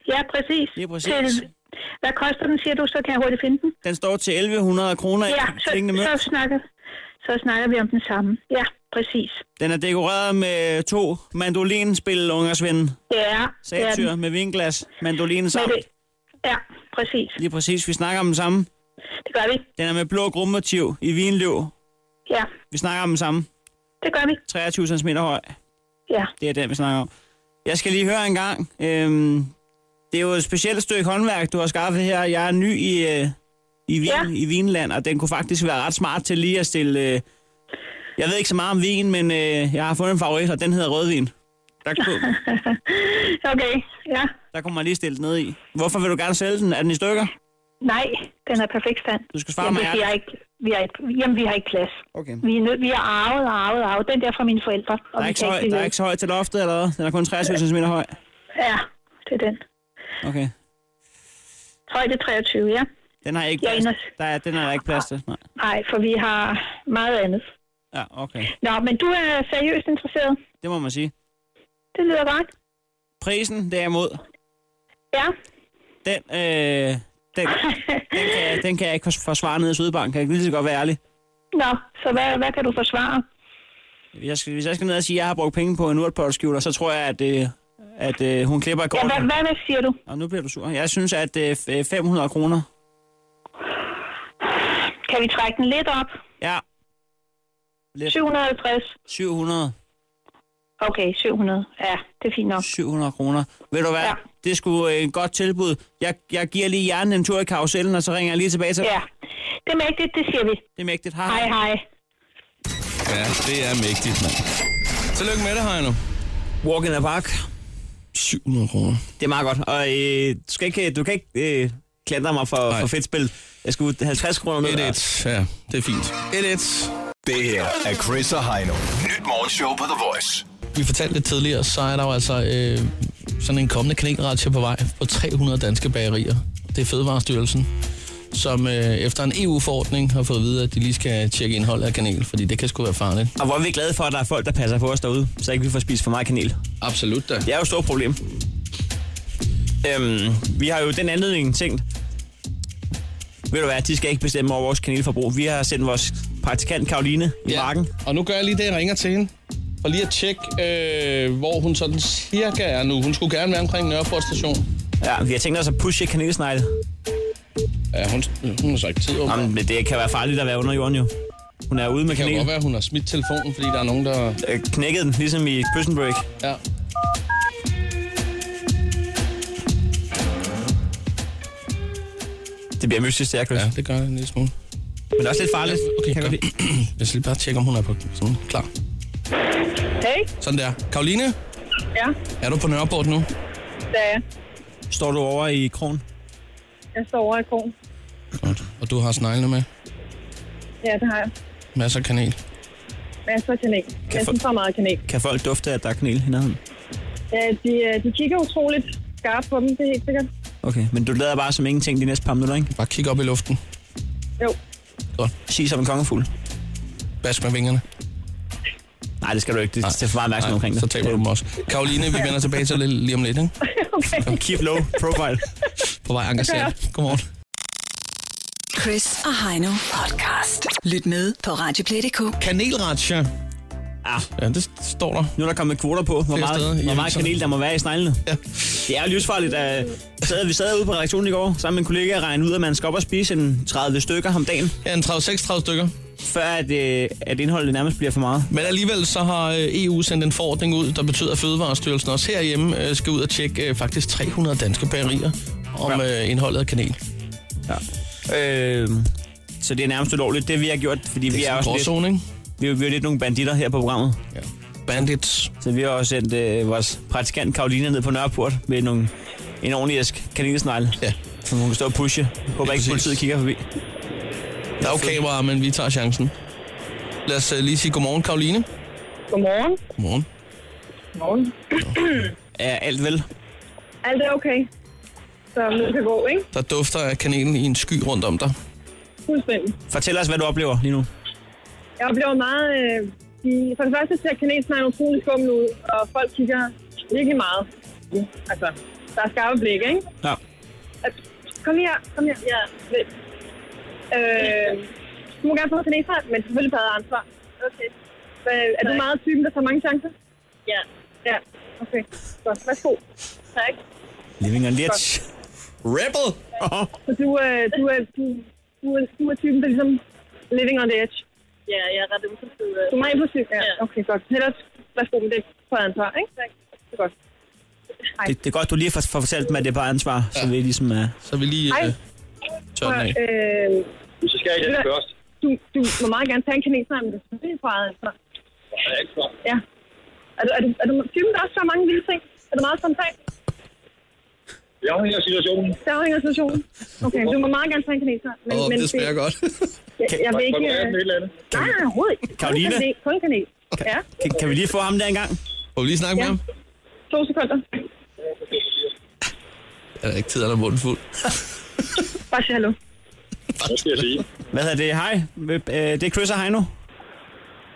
Speaker 5: ja, præcis.
Speaker 4: Lige præcis.
Speaker 5: Til, hvad koster den, siger du, så kan jeg hurtigt finde den?
Speaker 4: Den står til 1100 kroner.
Speaker 5: Ja, så,
Speaker 4: Pengene med.
Speaker 5: så, snakker, så snakker vi om den samme. Ja,
Speaker 8: præcis.
Speaker 4: Den er dekoreret med to mandolinspil, ungers ven.
Speaker 8: Det er, det er
Speaker 4: Sattyr
Speaker 8: den.
Speaker 4: med vinglas, mandolin
Speaker 8: Men
Speaker 4: samt.
Speaker 8: det, ja, præcis.
Speaker 4: Lige præcis, vi snakker om den samme.
Speaker 8: Det gør vi.
Speaker 4: Den er med blå grummotiv i vinløv.
Speaker 8: Ja,
Speaker 4: Vi snakker om den samme.
Speaker 8: det gør vi.
Speaker 4: 23 cm høj.
Speaker 8: Ja,
Speaker 4: Det er den, vi snakker om. Jeg skal lige høre en gang. Øhm, det er jo et specielt stykke håndværk, du har skaffet her. Jeg er ny i, øh, i, vin,
Speaker 8: Ja.
Speaker 4: ja. i Vinland, og den kunne faktisk være ret smart til lige at stille... Øh, jeg ved ikke så meget om vin, men øh, jeg har fundet en favorit, og den hedder rødvin. Der kunne,
Speaker 8: okay. Ja,
Speaker 4: der kunne man lige stille den ned i. Hvorfor vil du gerne sælge den? Er den i stykker?
Speaker 8: nej, den er perfekt stand.
Speaker 4: Du skal svare
Speaker 8: jamen,
Speaker 4: mig
Speaker 8: det
Speaker 4: ærligt.
Speaker 8: siger jeg ikke. Vi har ikke, jamen, vi har ikke plads.
Speaker 4: Okay.
Speaker 8: Vi er, nød, vi er arvet, arvet, arvet. Den der fra mine forældre. Og
Speaker 4: Der er,
Speaker 8: vi
Speaker 4: ikke så
Speaker 8: kan
Speaker 4: høj,
Speaker 8: blive
Speaker 4: der er
Speaker 8: ved.
Speaker 4: ikke så højt til loftet eller hvad? Den er kun 23 cm høj.
Speaker 8: Ja, det er den.
Speaker 4: Okay.
Speaker 8: Højde 23, ja.
Speaker 4: Den har jeg ikke
Speaker 8: Jeg er
Speaker 4: plads.
Speaker 8: inde
Speaker 4: Der er, den er der ikke plads til. Nej.
Speaker 8: Nej, for vi har meget andet.
Speaker 4: Ja, okay.
Speaker 8: Nå, men du er seriøst interesseret.
Speaker 4: Det må man sige.
Speaker 8: Det lyder godt.
Speaker 4: Prisen derimod,
Speaker 8: Ja,
Speaker 4: den, øh, den, den, kan, den kan jeg ikke forsvare nede i Sydbank. Kan jeg lige så godt være ærlig.
Speaker 8: nå, så hvad, hvad kan du forsvare?
Speaker 4: Jeg skal, hvis jeg skal ned og sige, at jeg har brugt penge på en urtpotskjuler, så tror jeg, at, øh, at øh, hun klipper i
Speaker 8: Ja, hvad,
Speaker 4: kortet.
Speaker 8: hvad, hvad siger du?
Speaker 4: Og nu bliver du sur. Jeg synes, at øh, f- øh, 500 kroner...
Speaker 8: Kan vi trække den lidt op?
Speaker 4: Ja. Lidt
Speaker 8: 750.
Speaker 4: 700.
Speaker 8: Okay, 700. Ja, det er fint nok.
Speaker 4: 700 kroner. Ved du hvad? Ja.
Speaker 8: Ja.
Speaker 4: Det er sgu øh, et godt tilbud. Jeg, jeg giver lige hjernen en tur i karusellen, og så ringer jeg lige tilbage til
Speaker 8: Ja, det er mægtigt, det siger vi.
Speaker 4: Det er mægtigt. Hej.
Speaker 8: Hej, hej.
Speaker 3: Ja, det er mægtigt, mand. Tillykke med det, Heino.
Speaker 4: Walk in the park.
Speaker 3: 700 kroner.
Speaker 4: Det er meget godt. Og øh, du, skal ikke, du kan ikke øh, klandre mig for,
Speaker 3: Nej.
Speaker 4: for fedt spil. Jeg skulle ud 50 kroner ned.
Speaker 3: 1-1. Ja, det er fint. 1-1.
Speaker 9: Det her er Chris og Heino. Nyt morgenshow på The Voice.
Speaker 3: vi fortalte lidt tidligere, så er der jo altså øh, sådan en kommende kanelrazzia på vej på 300 danske bagerier. Det er Fødevarestyrelsen, som øh, efter en EU-forordning har fået at vide, at de lige skal tjekke indholdet af kanel, fordi det kan sgu være farligt.
Speaker 4: Og hvor er vi glade for, at der er folk, der passer på os derude, så ikke vi får spist for meget kanel.
Speaker 3: Absolut da.
Speaker 4: Det er jo et stort problem. Øhm, vi har jo den anledning tænkt, ved du hvad, de skal ikke bestemme over vores kanelforbrug. Vi har sendt vores praktikant Karoline i ja. marken.
Speaker 3: Og nu gør jeg lige det, jeg ringer til hende. For lige at tjekke, øh, hvor hun sådan cirka er nu. Hun skulle gerne være omkring Nørreport station.
Speaker 4: Ja, vi har tænkt os at pushe kanelsnegle.
Speaker 3: Ja, hun, hun har så ikke tid over.
Speaker 4: Jamen, men det kan være farligt at være under jorden jo. Hun er ude med
Speaker 3: det kan jo godt
Speaker 4: kanel.
Speaker 3: være, at hun har smidt telefonen, fordi der er nogen, der...
Speaker 4: Øh, knækket den, ligesom i Prison Break.
Speaker 3: Ja.
Speaker 4: Det bliver mystisk, det her, Chris.
Speaker 3: ja,
Speaker 4: Ja.
Speaker 3: det gør det en lille smule. Øh,
Speaker 4: Men også lidt farligt.
Speaker 3: Okay,
Speaker 4: kan jeg
Speaker 3: godt.
Speaker 4: godt lide.
Speaker 3: Jeg skal lige bare tjekke, om hun er på sådan, klar.
Speaker 10: Hey,
Speaker 3: Sådan der. Karoline,
Speaker 10: ja,
Speaker 3: er du på Nørreport nu?
Speaker 10: der er jeg.
Speaker 4: Står du over i krogen?
Speaker 10: Jeg står over i krogen.
Speaker 3: Godt. Og du har sneglene med?
Speaker 10: Ja, det har jeg.
Speaker 3: Masser af kanel.
Speaker 10: Masser af kanel. Jeg
Speaker 4: få-
Speaker 10: synes, der er meget kanel.
Speaker 4: Kan folk dufte, at der er kanel i nærheden?
Speaker 10: Ja, de, øh, de kigger utroligt skarpt på dem, det er helt sikkert.
Speaker 4: Okay, men du lader bare som ingenting de næste par minutter, ikke?
Speaker 3: Bare kig op i luften.
Speaker 10: Jo,
Speaker 4: Sig som en kongefugl.
Speaker 3: Bas med vingerne.
Speaker 4: Nej, det skal du ikke. Det, det er for meget opmærksomhed omkring det.
Speaker 3: så taber du dem også. Karoline, vi vender tilbage til lidt, lige om lidt, ikke?
Speaker 10: okay.
Speaker 4: Keep low profile.
Speaker 3: På vej engageret. Godmorgen.
Speaker 2: Chris og Heino podcast. Lyt med på Radioplay.dk.
Speaker 3: Kanelratsja.
Speaker 4: Ah,
Speaker 3: Ja, det står der.
Speaker 4: nu er der kommet kvoter på, hvor
Speaker 3: Flere steder
Speaker 4: meget,
Speaker 3: i
Speaker 4: hvor meget
Speaker 3: aviserne.
Speaker 4: kanel der må være i sneglene. Ja. Det er jo livsfarligt. At, sad, vi sad ude på redaktionen i går sammen med en kollega og regnede ud, at man skal op og spise en 30 stykker om dagen,
Speaker 3: Ja, en 30-36 stykker.
Speaker 4: før at, øh, at indholdet nærmest bliver for meget.
Speaker 3: Men alligevel så har øh, EU sendt en forordning ud, der betyder, at Fødevarestyrelsen også herhjemme øh, skal ud og tjekke øh, faktisk 300 danske bagerier om øh, indholdet af kanel.
Speaker 4: Øh, så det er nærmest ulovligt, det vi har gjort, fordi vi
Speaker 3: Det
Speaker 4: er,
Speaker 3: er
Speaker 4: også
Speaker 3: sådan en
Speaker 4: lidt,
Speaker 3: gråzone, ikke?
Speaker 4: vi, er- vi er lidt nogle banditter her på programmet.
Speaker 3: Ja. Bandits.
Speaker 4: Så vi har også sendt øh, vores praktikant Karoline ned på Nørreport med nogle, en ordentlig æsk kanelsnegle,
Speaker 3: Ja.
Speaker 4: som hun kan stå og pushe. Håber ikke,
Speaker 3: præcis.
Speaker 4: politiet kigger forbi.
Speaker 3: Der er jo kameraer, men vi tager chancen. Lad os øh, lige sige godmorgen, Karoline.
Speaker 10: Godmorgen.
Speaker 3: Godmorgen.
Speaker 10: Godmorgen.
Speaker 4: Er alt vel?
Speaker 10: Alt er okay. Så nu kan gå, ikke?
Speaker 3: Der dufter af kanelen i en sky rundt om dig.
Speaker 10: Fuldstændig.
Speaker 4: Fortæl os, hvad du oplever lige nu.
Speaker 10: Jeg oplever meget... Øh, de, for det første ser kanelsnegle utrolig skummel ud, og folk kigger virkelig meget. Altså, der er skarpe blik, ikke?
Speaker 4: Ja.
Speaker 10: Altså, Kom her, kom her. Ja, vent. Øh, du må gerne få kanelsnegle, men selvfølgelig på eget ansvar. Okay. Men er du meget typen, der tager mange chancer?
Speaker 11: Ja.
Speaker 10: Ja. Okay. Så værsgo. Tak.
Speaker 4: Living on the edge.
Speaker 3: Rebel!
Speaker 4: Oh,
Speaker 10: Så du, øh, du, er, du, du, er, du er typen, der ligesom living on the edge.
Speaker 11: Ja, jeg er ret impulsiv.
Speaker 10: Du er meget impulsiv? Ja.
Speaker 11: Ja.
Speaker 10: Okay, godt. Hellere værsgo med det på ansvar, ikke? Tak. Det er godt.
Speaker 4: det, det er godt, du lige får, får fortalt mig, at det er bare ansvar, ja. så vi ligesom er...
Speaker 3: Så er vi lige
Speaker 10: Hej.
Speaker 3: øh, tør den af.
Speaker 10: Øh,
Speaker 12: Så skal jeg ikke først.
Speaker 10: du, du må meget gerne tage en kanelsnegl, men du skal selvfølgelig på eget ansvar.
Speaker 12: Jeg er ikke klar.
Speaker 10: Ja. Er du, er du, er du typen, der også så mange vilde ting? Er du meget spontan?
Speaker 12: Jeg afhænger af situationen.
Speaker 10: Der afhænger af situationen. Okay, du må meget gerne tage en kanelsnegl. Men,
Speaker 3: Åh,
Speaker 10: men
Speaker 3: det smager godt.
Speaker 10: Jeg, jeg vil
Speaker 12: Hvor
Speaker 10: ikke...
Speaker 12: du er
Speaker 10: Øh,
Speaker 12: den et eller andet.
Speaker 10: nej, nej, overhovedet ikke. Kun
Speaker 4: Karoline?
Speaker 10: kanel, Kun kanel. Ja,
Speaker 4: Kan, kan vi lige få ham der engang?
Speaker 3: Må vi lige snakke med
Speaker 10: Ja.
Speaker 3: ham?
Speaker 10: to sekunder.
Speaker 3: Er der ikke tid, han er munden fuld?
Speaker 10: Bare sig hallo.
Speaker 12: Hvad skal jeg sige?
Speaker 4: Hvad hedder det? Hej, øh, det er Chris og Heino.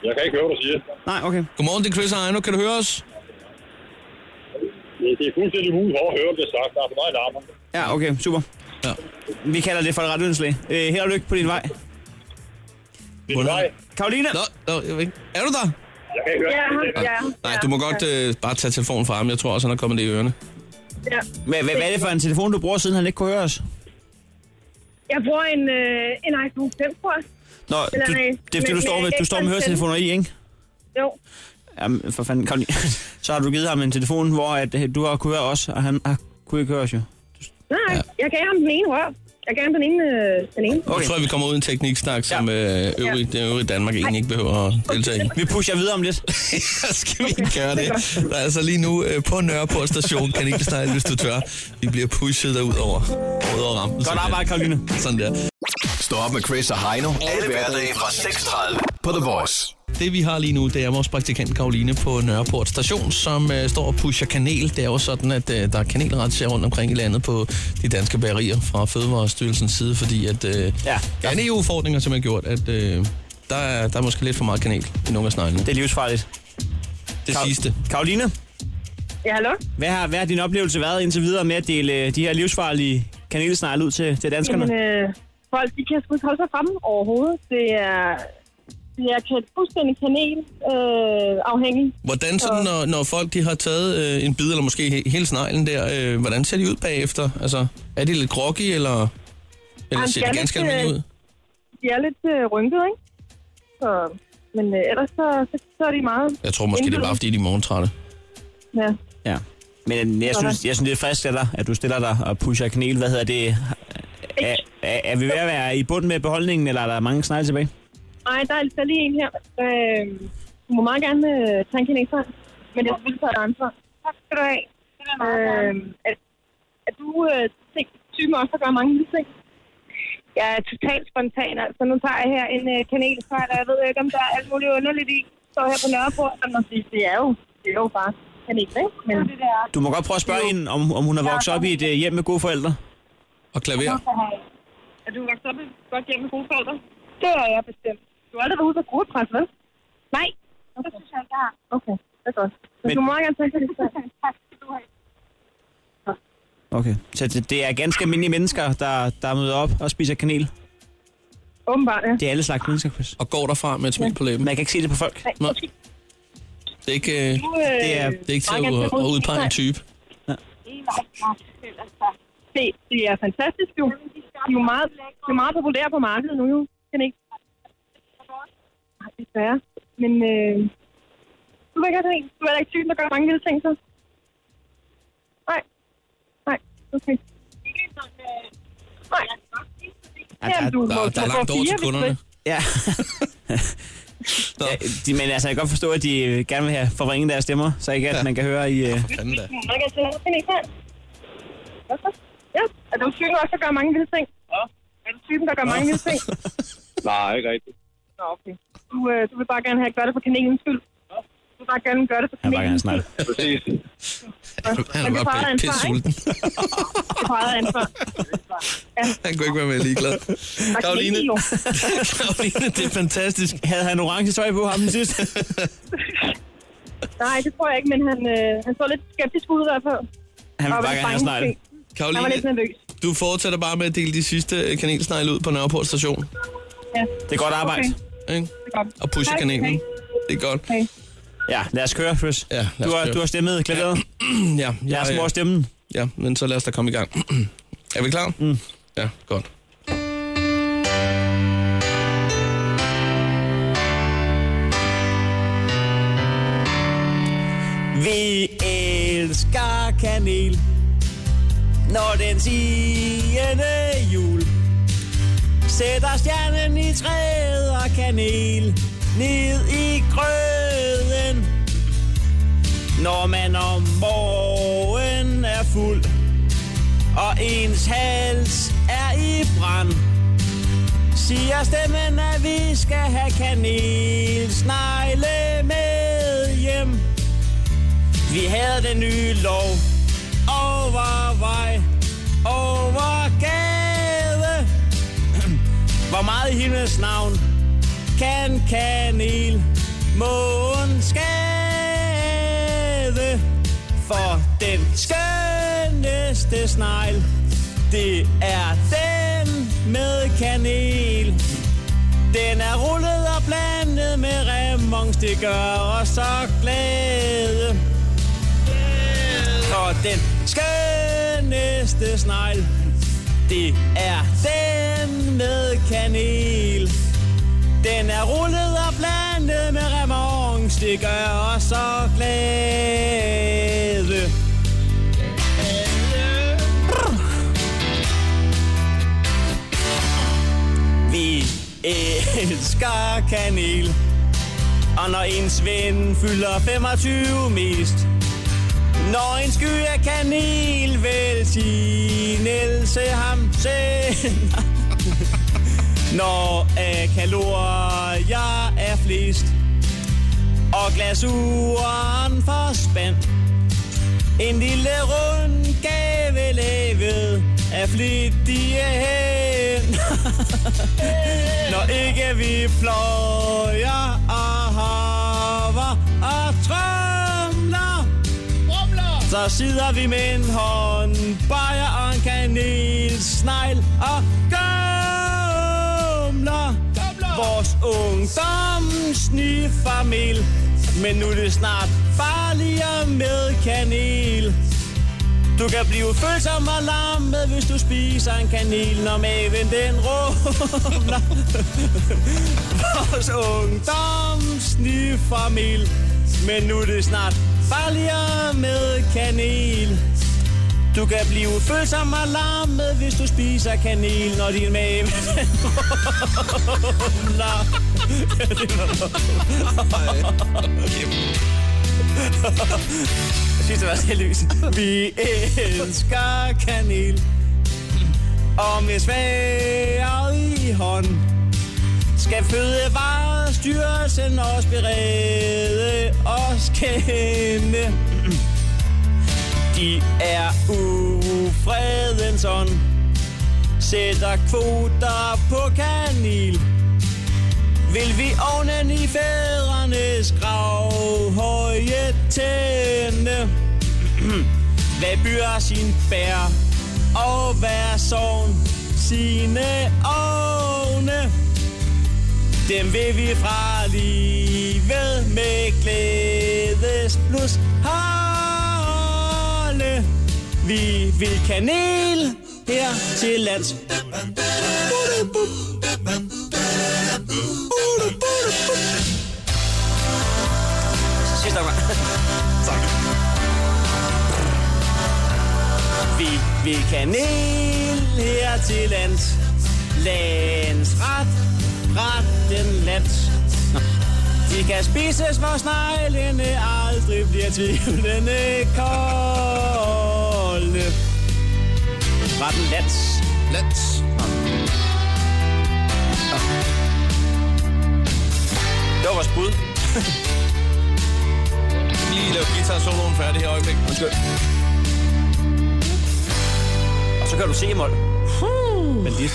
Speaker 12: Jeg kan ikke høre, hvad du siger.
Speaker 4: Nej, okay.
Speaker 3: Godmorgen, det er Chris og Ejno. Kan du høre os?
Speaker 12: Det- Det er fuldstændig umuligt for at høre, hvad der er sagt. Der er for meget larm.
Speaker 4: Ja, okay, super.
Speaker 3: Ja.
Speaker 4: Vi kalder det for et ret ønskeligt. Øh, held og lykke på din vej.
Speaker 12: Det er mig.
Speaker 4: Karoline!
Speaker 3: Nå, nå, jeg ved ikke. Er du der?
Speaker 12: Jeg kan ikke høre,
Speaker 10: Ja,
Speaker 12: hvad du
Speaker 10: ja,
Speaker 12: siger.
Speaker 10: ja.
Speaker 3: Nej, du må godt øh, bare tage telefonen fra ham. Jeg tror også, han er kommet det i ørerne.
Speaker 10: ja.
Speaker 4: Hvad, hvad, hvad er det for en telefon, du bruger, siden han ikke kunne høre os?
Speaker 10: Jeg bruger en, øh, en iPhone 5, tror jeg.
Speaker 4: Nå, du,
Speaker 10: Eller nej,
Speaker 4: det er fordi, du
Speaker 10: men-
Speaker 4: står
Speaker 10: men
Speaker 4: med, du
Speaker 10: ikke
Speaker 4: står med
Speaker 10: sådan
Speaker 4: høretelefoner i, ikke?
Speaker 10: Jo.
Speaker 4: Jamen, for fanden, Karoline. Så har du givet ham en telefon, hvor at, øh, du har kunne høre os, og han har kunne ikke høre os jo.
Speaker 10: Nej, jeg gav ham den ene rør. Jeg gav ham den ene. Øh, den ene.
Speaker 3: Okay.
Speaker 4: Okay.
Speaker 3: Nu tror jeg, vi kommer ud i en tekniksnak, som øh, øvrigt, det øvrige Danmark egentlig ikke behøver at deltage i.
Speaker 4: Vi pusher videre om lidt.
Speaker 3: Skal vi ikke gøre det? Der er altså lige nu øh, på Nørreport station, kan ikke snakke, hvis du tør. Vi bliver pushet derud over, ud over rampen.
Speaker 4: Godt
Speaker 3: Sådan
Speaker 4: arbejde, Karoline.
Speaker 3: der. Sådan der.
Speaker 7: Stå op med Chris og Heino. Alle hverdage fra 6.30 på The Voice.
Speaker 3: Det vi har lige nu, det er vores praktikant Karoline på Nørreport station, som øh, står og pusher kanel. Det er jo sådan, at øh, der er kanelretsjer rundt omkring i landet på de danske bagerier fra Fødevarestyrelsens side, fordi at øh, ja.
Speaker 4: Ja.
Speaker 3: der er en EU-forordninger, som har gjort, at øh, der, er, der er måske lidt for meget kanel i nogle af sneglene.
Speaker 4: Det
Speaker 3: Det,
Speaker 4: er livsfarligt.
Speaker 3: det
Speaker 4: Kar-
Speaker 3: sidste.
Speaker 4: Karoline,
Speaker 10: Ja, hallo?
Speaker 4: hvad har, hvad har din oplevelse været indtil videre med at dele øh, de her livsfarlige kanelsnegle ud til, til danskerne?
Speaker 10: Jamen, øh, folk, de kan sgu ikke holde sig fremme overhovedet. Det er, det er kan, fuldstændig kanel øh, afhængig.
Speaker 3: Hvordan sådan, når, når folk de har taget øh, en bid, eller måske he, hele sneglen der, øh, hvordan ser de ud bagefter? Altså, er de lidt groggy, eller, eller
Speaker 10: Jamen,
Speaker 3: ser
Speaker 10: de er
Speaker 3: de ganske
Speaker 10: lidt, øh,
Speaker 3: almindelige ud?
Speaker 10: De er lidt øh, rynket, ikke? Så, men øh, ellers så, så, så er de meget...
Speaker 3: Jeg tror måske, det er bare, fordi de er morgentrætte.
Speaker 10: Ja.
Speaker 4: Ja. Men øh, jeg synes, jeg synes det er frisk af dig, at du stiller dig og pusher kanel. Hvad hedder det? Er, er, er vi ved at være i bunden med beholdningen, eller er der mange snegle tilbage?
Speaker 10: Ej, der er, der er lige en her. Øh, du må meget gerne øh, tage en kineser, men jeg vil tage et ansvar. Tak skal du have. Det er meget øh, er, er, du øh, ty- typen også, der gør mange vilde ting? Jeg er totalt spontan, altså. Nu tager jeg her en øh, kanelsnegl, og jeg ved ikke, om der er alt muligt underligt i. Står her på Nørreport, og man siger, det er jo, det er jo bare kanel, ikke? Men
Speaker 4: Du må godt prøve at spørge hende, om, om hun har vokset op i et øh, hjem med gode forældre.
Speaker 3: Og klaver.
Speaker 10: er du vokset op i et godt hjem med gode forældre? Det er jeg bestemt. Du har aldrig været ude på gruppepres, vel? Nej, okay. det synes jeg ikke, jeg har. Okay, det er godt. Men,
Speaker 4: Men-
Speaker 10: du må gerne tage det.
Speaker 4: Okay. Så det, det er ganske almindelige mennesker, der, der møder op og spiser kanel.
Speaker 10: Åbenbart, ja.
Speaker 4: Det er alle slags mennesker, Chris.
Speaker 3: Og går derfra med et smil på læben.
Speaker 4: Man kan ikke se det på folk.
Speaker 3: Nå. Det er ikke, øh,
Speaker 4: Det er,
Speaker 3: det er ikke til at, at udpege en type.
Speaker 10: Det, det er fantastisk, jo. altså. De er jo meget, det er meget populære på markedet nu, jo. Kan ikke? Nej, desværre. Men øh, du vil ikke have en. Du er da ikke typen, der gør mange lille ting, så. Nej. Nej, okay. Nej.
Speaker 4: Ja,
Speaker 10: Jamen, du,
Speaker 3: Der, der er langt over til kunderne.
Speaker 4: Altså, ja.
Speaker 3: Nå,
Speaker 4: ja de, men altså, jeg kan godt forstå, at de øh, gerne vil have forvrænget deres stemmer, så ikke at
Speaker 3: Ja.
Speaker 4: man kan høre i... Øh,
Speaker 3: fanden da.
Speaker 10: Man kan tage noget, ikke sandt? Ja, er du typen også, der gør mange vilde ting? Ja. Er du typen, der gør mange vilde ting?
Speaker 12: Nej, ikke rigtigt.
Speaker 10: Nå, okay. Du, øh, du vil bare gerne have gøre det for kanelens skyld. Du vil bare gerne gøre det for
Speaker 4: jeg vil bare gerne snakke.
Speaker 10: kanelens skyld.
Speaker 12: Præcis.
Speaker 3: Han
Speaker 10: Men det
Speaker 3: er
Speaker 10: er bare
Speaker 3: bare
Speaker 10: en
Speaker 3: pisse
Speaker 10: fejl.
Speaker 3: sulten.
Speaker 10: Det er på eget ansvar. Ja,
Speaker 3: Han kunne ikke være mere ligeglad.
Speaker 10: der er
Speaker 3: Karoline,
Speaker 10: kanel jo.
Speaker 3: Karoline, det er fantastisk.
Speaker 4: Havde han orange tøj på ham den sidste?
Speaker 10: Nej, det tror jeg ikke, men han, øh, han så lidt skeptisk ud i hvert fald.
Speaker 4: Han vil
Speaker 10: Og var
Speaker 4: bare gerne have
Speaker 10: bange
Speaker 4: snegle.
Speaker 10: måske. Han var lidt
Speaker 3: Karoline,
Speaker 10: nervøs.
Speaker 3: du fortsætter bare med at dele de sidste øh, kanelsnegle ud på Nørreport station.
Speaker 10: Ja,
Speaker 4: Det er godt arbejde.
Speaker 10: Okay.
Speaker 3: Ikke?
Speaker 10: det er godt.
Speaker 3: Og pushe
Speaker 10: Tak,
Speaker 3: kanelen.
Speaker 10: tak.
Speaker 3: Det er godt.
Speaker 10: Okay.
Speaker 4: Ja, lad os køre, Chris.
Speaker 3: Ja, lad
Speaker 4: du,
Speaker 3: os
Speaker 4: har,
Speaker 3: køre.
Speaker 4: du har stemmet, klaveret.
Speaker 3: ja, jeg,
Speaker 4: Jeg har små stemmen.
Speaker 3: Ja, men så lad os da komme i gang. er vi klar?
Speaker 4: Mm.
Speaker 3: Ja, godt.
Speaker 4: Vi elsker kanel, når den sigende jul sætter stjernen i træet og kanel ned i grøden. Når man om morgen er fuld, og ens hals er i brand, siger stemmen, at vi skal have kanel snegle med hjem. Vi havde den nye lov over vej, over gade. Hvor meget i himlens navn kan kanel månen skade? For den skønneste snegl, det er den med kanel. Den er rullet og blandet med remons, det gør os så glade. For den skønneste snegl, det er den med kanel. Den er rullet og blandet med remons, det gør os så glade. Vi elsker kanel. Og når ens ven fylder 25 mest, når en sky af kanel velsignelse ham sender. Når af kalorier er flest, og glasuren forspændt. En lille rund gave lavet af flittige hænder. Når ikke vi pløjer og haver og trømler, så sidder vi med en hånd, bajer og en kanel, snegl og gumler. Vores ungdom sniffer mel, men nu er det snart farligere med kanel. Du kan blive følsom og lammet, hvis du spiser en kanel, når maven den rumler. Vores ungdom sniffer mel, men nu er det snart farligere med kanel. Du kan blive følsom og lammet, hvis du spiser kanel, når din mave den rumler. Ja, det var Jeg synes, det var så lys. Vi elsker kanel. Og med sværet i hånd skal Fødevarestyrelsen også berede os kende. De er ufredens ånd, sætter kvoter på kanel. Vil vi ovnen i fædrenes grav høje tænde? Hvad byer sin bær og hver sovn sine ovne? Dem vil vi fra livet med glædes plus holde. Vi vil kanel her til lands. Sidste gang. Tak. Vi vil kanel her til lands. Landsret, retten lands. Nå. De kan spises, hvor sneglene aldrig bliver tvivlende kolde. Retten lands.
Speaker 3: Lands.
Speaker 4: Det var vores bud.
Speaker 3: Lige lav guitar-soloen færdig her i øjeblik. Undskyld.
Speaker 4: Og så gør du C-mål. Men lige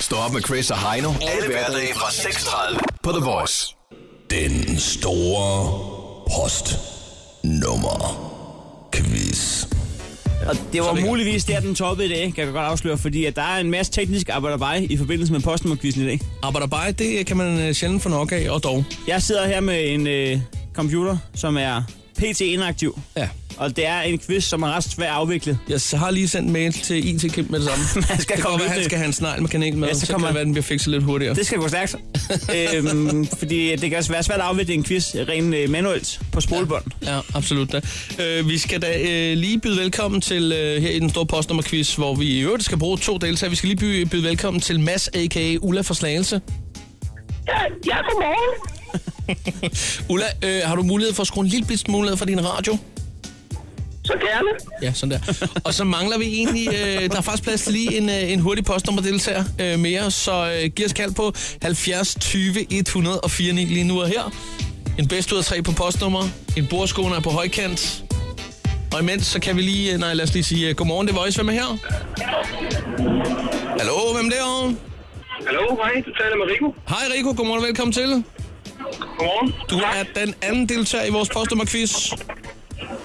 Speaker 7: Stå op med Chris og Heino. Alle hverdage fra 6.30 på The Voice.
Speaker 3: Den store postnummer quiz. Ja.
Speaker 4: Og det var muligvis der, den toppede i dag, kan jeg godt afsløre, fordi at der er en masse teknisk arbejderbej i forbindelse med postnummerquizzen i dag.
Speaker 3: Arbejderbej, det kan man øh, sjældent få nok af, og dog.
Speaker 4: Jeg sidder her med en øh, computer, som er pt. inaktiv.
Speaker 3: Ja.
Speaker 4: Og det er en quiz, som er ret svært afviklet.
Speaker 3: Jeg har lige sendt mail til IT Kim med det samme.
Speaker 4: Man skal
Speaker 3: det
Speaker 4: komme
Speaker 3: kan
Speaker 4: ud
Speaker 3: være, han
Speaker 4: til-
Speaker 3: skal have en sneglmekanik med,
Speaker 4: Ja, så
Speaker 3: så, så
Speaker 4: kommer
Speaker 3: kan det være, den bliver fikset lidt hurtigere.
Speaker 4: Det skal gå stærkt. øhm, fordi det kan også være svært at afvikle en quiz rent øh, manuelt på spolebånd.
Speaker 3: Ja, absolut da. Øh, vi skal da øh, lige byde velkommen til øh, her i den store postnummerquiz, hvor vi i øvrigt skal bruge to deltagere. Vi skal lige byde, byde velkommen til Mads, a.k.a. Ulla fra Slagelse.
Speaker 13: Ja, godmorgen.
Speaker 3: Ulla, øh, har du mulighed for at skrue en lille bit smule ned for din radio?
Speaker 13: Så gerne.
Speaker 3: Ja, sådan der. Og så mangler vi egentlig, øh, der er faktisk plads til lige en, øh, en hurtig postnummerdeltager øh, mere, så øh, giv os kald på 70 20 104 lige nu og her. En bedst ud af tre på postnummer, en bordskåne er på højkant, og imens så kan vi lige, øh, nej lad os lige sige, øh, godmorgen, det er Voice, hvem er her? Hallo, hvem derovre?
Speaker 14: Hallo, hej. Du taler med Rico.
Speaker 3: Hej Rico, godmorgen og velkommen til.
Speaker 14: Godmorgen.
Speaker 3: Du er den anden deltager i vores postnummerquiz.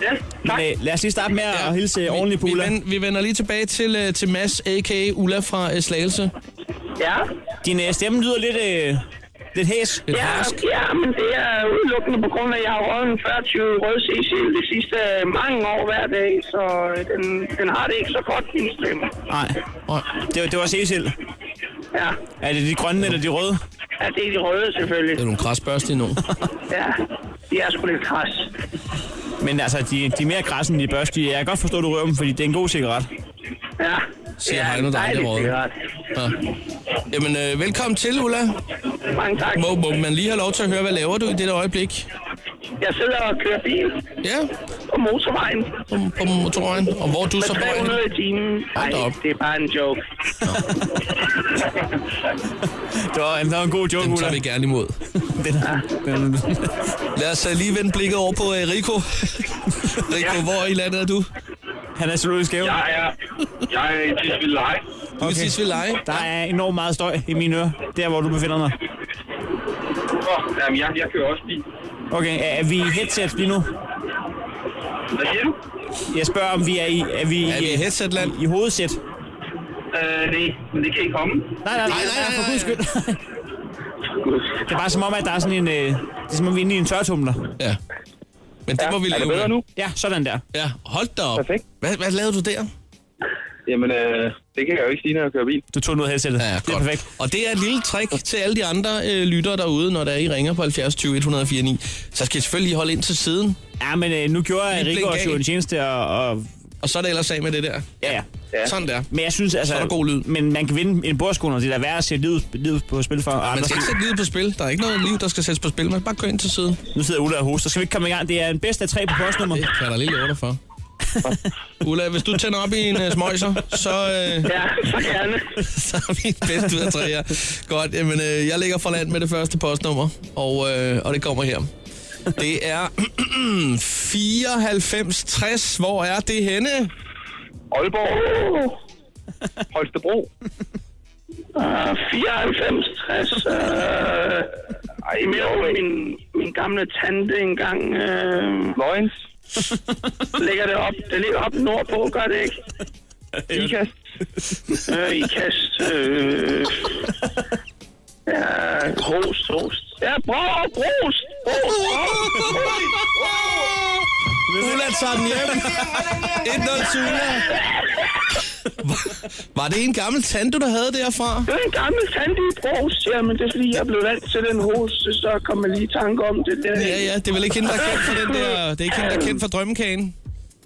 Speaker 14: Ja,
Speaker 4: Men, øh, lad os lige starte med at hilse øh, ordentligt på
Speaker 3: Vi,
Speaker 4: Ulla.
Speaker 3: vend, vi vender lige tilbage til, øh, til Mads, a.k.a. Ulla fra øh, Slagelse.
Speaker 13: Ja.
Speaker 4: Din øh, stemme lyder lidt, øh, lidt hæs.
Speaker 3: Lidt
Speaker 13: Ja,
Speaker 3: harsk.
Speaker 13: ja, men det er udelukkende på grund af, at jeg har røget en 40 rød Cecil de sidste øh, mange år hver dag, så øh, den, den har det ikke så godt, min stemme.
Speaker 4: Nej,
Speaker 3: Og-
Speaker 4: det, var- det var Cecil.
Speaker 13: Ja.
Speaker 4: Er det de grønne eller de røde?
Speaker 13: ja, det er de røde selvfølgelig.
Speaker 3: Det er nogle krasbørste endnu.
Speaker 13: Ja, de er sgu lidt kras.
Speaker 4: Men altså, de, de er mere græsne end de børste. Jeg kan godt forstå, du rører dem, fordi det er en god cigaret.
Speaker 13: Ja,
Speaker 3: Siger
Speaker 13: det er
Speaker 3: Heino, der aldrig
Speaker 13: dejligt,
Speaker 3: har røget.
Speaker 13: det er ret.
Speaker 3: Ja. Jamen, øh, velkommen til, Ulla.
Speaker 13: Mange tak.
Speaker 3: Må, må man lige have lov til at høre, hvad laver du i dette øjeblik?
Speaker 13: Jeg sidder og kører bil
Speaker 3: Ja,
Speaker 13: på motorvejen
Speaker 3: på, på motorvejen. Og hvor er du
Speaker 13: med
Speaker 3: så bor henne?
Speaker 13: 300 i timen. Nej,
Speaker 3: Hold da op.
Speaker 13: det er bare en joke.
Speaker 4: Det var, det var en god joke,
Speaker 3: Den
Speaker 4: Ulla.
Speaker 3: tager vi gerne imod.
Speaker 4: Den, den,
Speaker 3: Lad os øh, lige vende blikket over på øh, Rico. Rico, hvor i landet er du?
Speaker 4: han er zoologisk skæv.
Speaker 14: Jeg er, jeg er i Tisvilde
Speaker 3: Du okay. sidst ved lege.
Speaker 4: Der er enormt meget støj i mine ører, der hvor du befinder dig.
Speaker 14: Jamen, jeg, jeg kører også bil.
Speaker 4: Okay, er, er vi i headsets lige nu?
Speaker 14: Hvad siger du?
Speaker 4: Jeg spørger, om vi er i... Er vi,
Speaker 3: Er vi i headsetland?
Speaker 4: I, i hovedsæt?
Speaker 14: Øh, nej, men det kan ikke komme.
Speaker 4: Nej, nej, nej,
Speaker 3: nej,
Speaker 4: nej,
Speaker 3: nej,
Speaker 4: for
Speaker 3: nej.
Speaker 4: guds skyld. det er bare som om, at der er sådan en... Øh, det er som om, vi er inde i en tørtumler.
Speaker 3: Ja. Men det må vi
Speaker 14: er det
Speaker 3: leve
Speaker 14: bedre
Speaker 3: med.
Speaker 14: nu?
Speaker 4: Ja, sådan der.
Speaker 3: Ja, hold da op.
Speaker 14: Perfekt.
Speaker 3: Hvad, hvad lavede du der?
Speaker 14: Jamen, øh, det kan jeg jo ikke sige, når jeg kører bil.
Speaker 4: Du tog noget headsetet.
Speaker 3: Ja,
Speaker 4: det er
Speaker 3: godt.
Speaker 4: perfekt.
Speaker 3: Og det er et lille trick til alle de andre øh, lyttere derude, når der er, I ringer på 70 20 104 9. Så skal I selvfølgelig holde ind til siden,
Speaker 4: Ja, men øh, nu gjorde jeg
Speaker 3: Lige
Speaker 4: Rikke
Speaker 3: blink
Speaker 4: også
Speaker 3: af.
Speaker 4: jo en tjeneste, og, og
Speaker 3: og så er det ellers af med det der.
Speaker 4: ja, ja.
Speaker 14: Ja.
Speaker 3: Sådan der.
Speaker 4: Men jeg synes, altså...
Speaker 3: Så er der god lyd.
Speaker 4: Men man kan vinde en bordskole, og det er da værd at sætte livet, livet på spil for. Og
Speaker 3: Man
Speaker 4: andre
Speaker 3: skal ikke sætte livet på spil. Der er ikke noget liv, der skal sættes på spil. Man skal bare gå ind til siden.
Speaker 4: Nu sidder Ulla og hoster. Skal vi ikke komme i gang? Det er en bedst af tre på postnummer.
Speaker 3: Det kan jeg da lige love dig for. Ulla, hvis du tænder op i en uh, smøjser, så, uh,
Speaker 13: Ja, så gerne.
Speaker 3: så er vi bedst ud af tre her. Godt, jamen, uh, jeg ligger for land med det første postnummer, og, uh, og det kommer her. Det er 9460. Hvor er det henne?
Speaker 14: Aalborg,
Speaker 13: Uh,
Speaker 14: Holstebro.
Speaker 13: uh, 94, 60. Uh, ej, mere over min, min gamle tante engang. Uh,
Speaker 14: Vojens.
Speaker 13: ligger det op. Det ligger op nordpå, gør det ikke?
Speaker 14: Ikast.
Speaker 13: Øh, I kast. Øh, ja, host, host. Ja, bro, bros, bros.
Speaker 3: Ulla tager den hjem. 1-0 til Ulla. Var det en gammel tante, du havde derfra?
Speaker 13: Det er en gammel tante i bros. Ja, men det er fordi, jeg blev valgt til den host, så kom jeg lige i tanke om det. Der.
Speaker 3: Ja, ja, det er vel ikke hende, der er kendt for den der... Det er ikke hende, der er kendt for drømmekagen.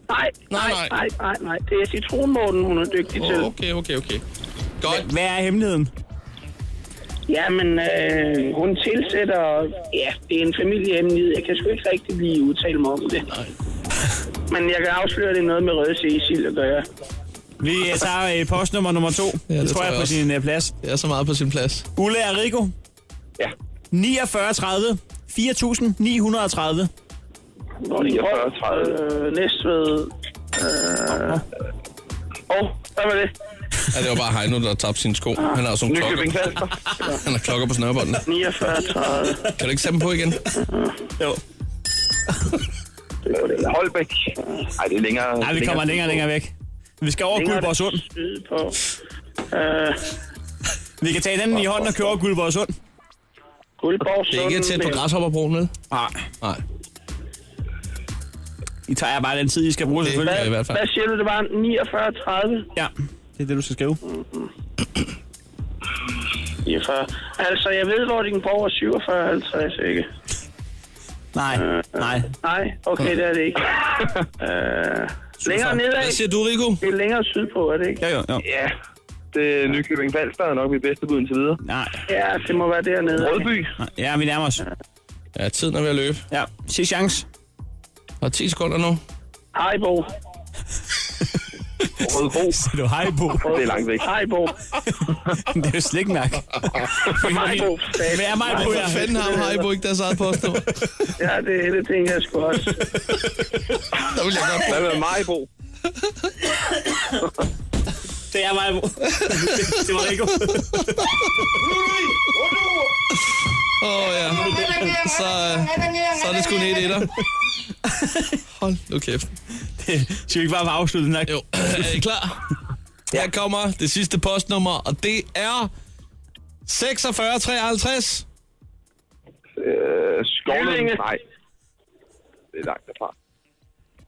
Speaker 13: Nej, nej,
Speaker 3: Nej, nej.
Speaker 13: nej, nej, nej. Det er citronmåden, hun er dygtig til.
Speaker 3: Okay, okay, okay. Godt.
Speaker 4: Hvad er hemmeligheden?
Speaker 13: Jamen, øh, hun tilsætter... Ja, det er en familiehemmelighed. Jeg kan sgu ikke rigtig lige udtale mig om det.
Speaker 3: Nej.
Speaker 13: Men jeg kan afsløre, at det er noget med røde cecil at gøre.
Speaker 4: Vi øh, tager øh, postnummer nummer to. Ja, det,
Speaker 3: det
Speaker 4: tror
Speaker 3: tror
Speaker 4: jeg,
Speaker 3: jeg
Speaker 4: på
Speaker 3: også.
Speaker 4: sin øh, plads.
Speaker 3: Det er så meget på sin plads.
Speaker 4: Ulla og Rico.
Speaker 14: Ja.
Speaker 4: 4930. 4930.
Speaker 13: Hvor de
Speaker 14: 49, 30.
Speaker 13: Øh, Næstved. Øh, og hvad var det?
Speaker 3: Ja, det var bare Heino, der tabte sine sko. Han har sådan klokker.
Speaker 14: Nykøbing Falster.
Speaker 3: Han har klokker på snørbåndene.
Speaker 13: 49, 30.
Speaker 3: Kan du ikke sætte dem på igen?
Speaker 4: Jo.
Speaker 14: Holbæk. Nej, det er længere.
Speaker 4: Nej, vi kommer længere og længere væk. Vi skal over
Speaker 15: Længere er det
Speaker 4: Guldborgsund.
Speaker 15: syd på. Øh,
Speaker 4: Vi kan tage hinanden i hånden og køre over Guldborgsund.
Speaker 15: Guldborgsund.
Speaker 3: Det er ikke tæt på græshopperbroen, vel?
Speaker 4: Nej.
Speaker 3: Nej.
Speaker 4: I tager jer bare den tid, I skal bruge, selvfølgelig.
Speaker 3: Ja, i hvert fald.
Speaker 15: Hvad siger du, det var 49-30?
Speaker 4: Ja, det er det, du skal skrive.
Speaker 15: Mm-hmm. 49. Altså, jeg ved, hvor din borg er 47, 50, ikke? Øh,
Speaker 4: Nej, nej.
Speaker 15: Nej, okay, det er det ikke. øh, længere nedad,
Speaker 3: Hvad siger du, Rico?
Speaker 15: det er længere sydpå, er det ikke?
Speaker 4: Jo, jo, jo.
Speaker 13: Ja, det er Nykøbing Falster er nok mit bedste bud indtil videre.
Speaker 4: Nej.
Speaker 15: Ja, det må være dernede.
Speaker 13: Rødby.
Speaker 4: nej. Ja, vi nærmer os.
Speaker 3: Ja, tiden er ved at løbe.
Speaker 4: Ja, sidste chance.
Speaker 3: Og 10 sekunder nu.
Speaker 15: Haribo.
Speaker 13: Rødbro.
Speaker 4: Det er hej, Bo.
Speaker 13: Det er langt væk.
Speaker 15: Haribo.
Speaker 4: det er jo slikmærk.
Speaker 15: Haribo.
Speaker 4: Hvad er mig, Bo?
Speaker 3: Hvad fanden har Haribo ikke deres eget postnummer?
Speaker 15: Ja, det er det ting, jeg sgu også.
Speaker 3: Der vil jeg godt
Speaker 13: Hvad med Majbo?
Speaker 4: Det er mig, Bo. det var Rico.
Speaker 3: Åh oh, ja. Så, øh, så er det sgu ned i dig. Hold nu kæft.
Speaker 4: Skal vi ikke bare have afsluttet den her?
Speaker 3: Jo, er I klar? Her kommer det sidste postnummer, og det er 4653.
Speaker 13: Øh, Skovlund?
Speaker 15: Jyllinge.
Speaker 13: Nej. Det er langt derfra.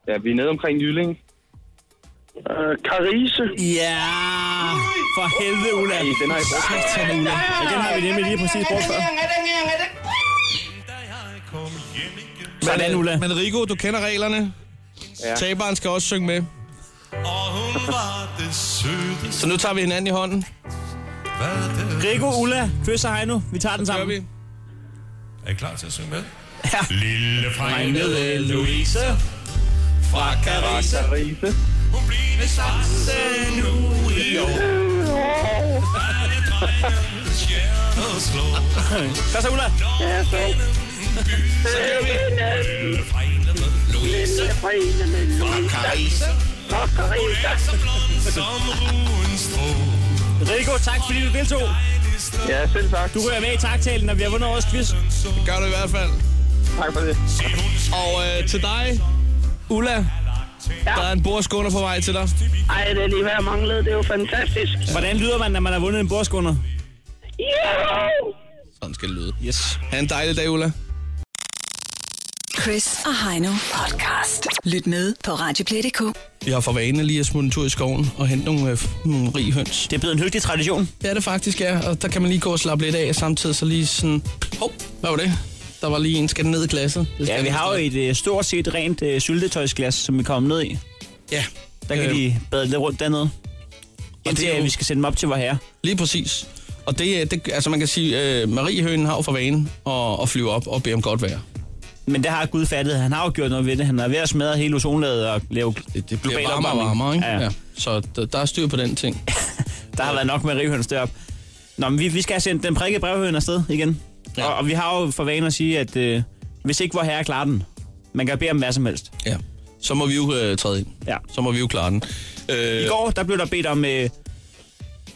Speaker 13: Ja, vi er nede omkring Jyllinge.
Speaker 15: Øh, Carise.
Speaker 4: Ja, for helvede, Ulla.
Speaker 13: Ej, den har jeg brugt.
Speaker 4: Ja, den har vi nemlig lige præcis brugt før. Sådan, Ulla.
Speaker 3: Men Rico, du kender reglerne. Ja.
Speaker 13: Ja.
Speaker 3: Taberen skal også synge med. Så nu tager vi hinanden i hånden.
Speaker 4: Rico, Ulla, Chris og Heino, vi tager den
Speaker 3: Gør
Speaker 4: sammen.
Speaker 3: vi.
Speaker 16: Er I klar til at synge med?
Speaker 4: Ja.
Speaker 16: Lille
Speaker 4: Regnede Louise fra Carissa.
Speaker 13: Carise.
Speaker 16: Hun bliver sanse nu i år. Alle drengens hjerter slår.
Speaker 4: Kom så, Ulla.
Speaker 16: Når vennen byder Lille regnede Louise fra Carissa. Hun er så blond som ruens strå.
Speaker 4: Rico, tak fordi du deltog.
Speaker 13: Ja, selv tak.
Speaker 4: Du rører med i taktalen, når vi har vundet årets quiz.
Speaker 3: Det gør du i hvert fald.
Speaker 13: Tak for det.
Speaker 3: Og øh, til dig, Ulla. Der er en bordskåner på vej til dig.
Speaker 15: Ej, det er lige hvad jeg manglede. Det er jo fantastisk.
Speaker 4: Hvordan lyder man, når man har vundet en bordskunder?
Speaker 15: Yeah!
Speaker 3: Sådan skal det lyde. Yes. Ha' en dejlig dag, Ulla.
Speaker 2: Chris og Heino podcast. Lyt med på Radioplay.dk.
Speaker 3: Vi har for vane lige at smutte en tur i skoven og hente nogle, øh, f- nogle rige høns.
Speaker 4: Det er blevet en hyggelig tradition.
Speaker 3: Det er det faktisk, ja. Og der kan man lige gå og slappe lidt af, og samtidig så lige sådan... Hov, hvad var det? Der var lige en skal ned i glasset. Det
Speaker 4: Ja,
Speaker 3: skal
Speaker 4: vi
Speaker 3: den
Speaker 4: har jo
Speaker 3: vist
Speaker 4: et øh, stort set rent øh, syltetøjsglas, som vi kommer ned i.
Speaker 3: nok. Ja,
Speaker 4: Der kan
Speaker 3: Øh.
Speaker 4: de bade lidt rundt dernede. Indtil
Speaker 3: det er jo-
Speaker 4: øh, vi skal sende dem op til vor herre.
Speaker 3: lige præcis. Og det, øh, det altså man kan sige, øh, Mariehønen har jo for vane at, at flyve op og bede om godt vejr.
Speaker 4: Men det har Gud fattet. Han har jo gjort noget ved det. Han er ved at smadre hele ozonlaget og lave
Speaker 3: Det, det bliver
Speaker 4: Global
Speaker 3: varmere og
Speaker 4: opvarmning.
Speaker 3: varmere, ikke?
Speaker 4: Ja.
Speaker 3: Så der, der er styr på den ting.
Speaker 4: Der har været nok med rivhøns deroppe. Nå, men vi, vi skal have sendt den prikkede brevhøn afsted igen.
Speaker 3: Ja.
Speaker 4: Ja. Og, og, vi har jo for vane at sige, at øh, hvis ikke vor herre klarer den, man kan bede om hvad som helst.
Speaker 3: Ja. Så må vi jo øh, træde ind.
Speaker 4: Ja.
Speaker 3: Så må vi jo klare den. Øh,
Speaker 4: I går, der blev der bedt om øh,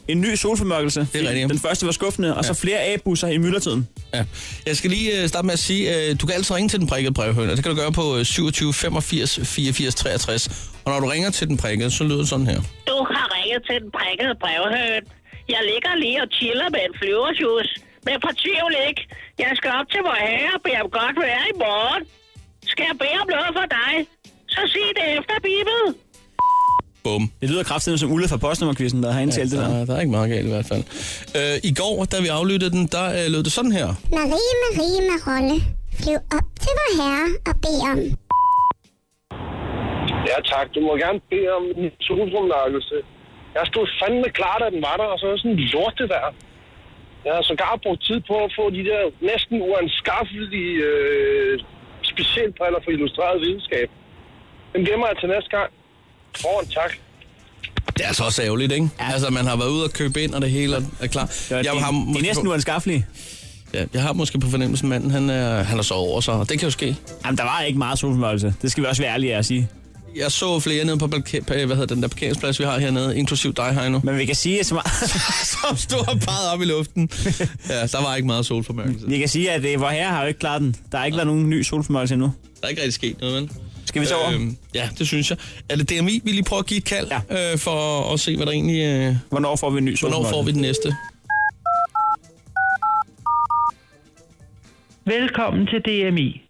Speaker 4: en ny solformørkelse.
Speaker 3: er rigtigt.
Speaker 4: Den første var skuffende, og ja. så flere A-busser i myldretiden.
Speaker 3: Ja. Jeg skal lige øh, starte med at sige, øh, du kan altid ringe til den prikkede brevhøn, og det kan du gøre på øh, 27 85 84 63. Og når du ringer til den prikkede, så lyder det sådan her.
Speaker 10: Du har ringet til den prikkede brevhøn. Jeg ligger lige og chiller med en flyvershus. Men fortvivl ikke. Jeg skal op til vor herre og bede om godt vejr i morgen. Skal jeg bede om noget for dig? Så sig det efter, Bibel.
Speaker 3: Bum.
Speaker 4: Det lyder kraftigt som Ulla fra postnummerkvisten, der har indtalt ja, det der.
Speaker 3: Der, der er ikke meget galt i hvert fald. Øh, I går, da vi aflyttede den, der øh, lød det sådan her.
Speaker 17: Marie, Marie, Marolle, flyv op til vor herre og bed om.
Speaker 13: Ja, tak. Du må gerne bede om en solformørkelse. Jeg stod fandme klar, da den var der, og så er sådan en lorte der. Jeg har sågar brugt tid på at få de der næsten uanskaffelige øh, specialbriller for illustreret videnskab. Dem gemmer jeg til næste gang. Foran tak.
Speaker 3: Det er altså også ærgerligt, ikke? Ja. Altså, man har været ude og købe ind, og det hele er- er klar.
Speaker 4: Det, var, de,
Speaker 3: har
Speaker 4: de, er
Speaker 3: måske
Speaker 4: næsten
Speaker 3: på,
Speaker 4: uanskaffelige.
Speaker 3: ja, jeg har måske på fornemmelsen, at manden han er, han er sovet over sig, og det kan jo ske.
Speaker 4: Jamen, der var ikke meget solformørkelse. Det skal vi også være ærlige af at sige.
Speaker 3: Jeg så flere nede på parker, pa- hvad hedder den der parkeringsplads, vi har hernede, inklusiv dig, Heino.
Speaker 4: Men vi kan sige, at, så meget-
Speaker 3: som stod og pegede op i luften. Ja, der var ikke meget solformørkelse.
Speaker 4: vi kan sige, at øh, vor herre har jo ikke klaret den. Der har ikke været nogen ny solformørkelse endnu.
Speaker 3: Der er ikke rigtig sket noget, vel?
Speaker 4: Skal vi så over?
Speaker 3: Øhm, ja, det synes jeg. Er det DMI, vi lige prøver at give et kald, ja. øh, for at se, hvad der egentlig... Øh,
Speaker 4: hvornår får vi en ny
Speaker 3: Hvornår får vi den næste?
Speaker 16: Velkommen til DMI.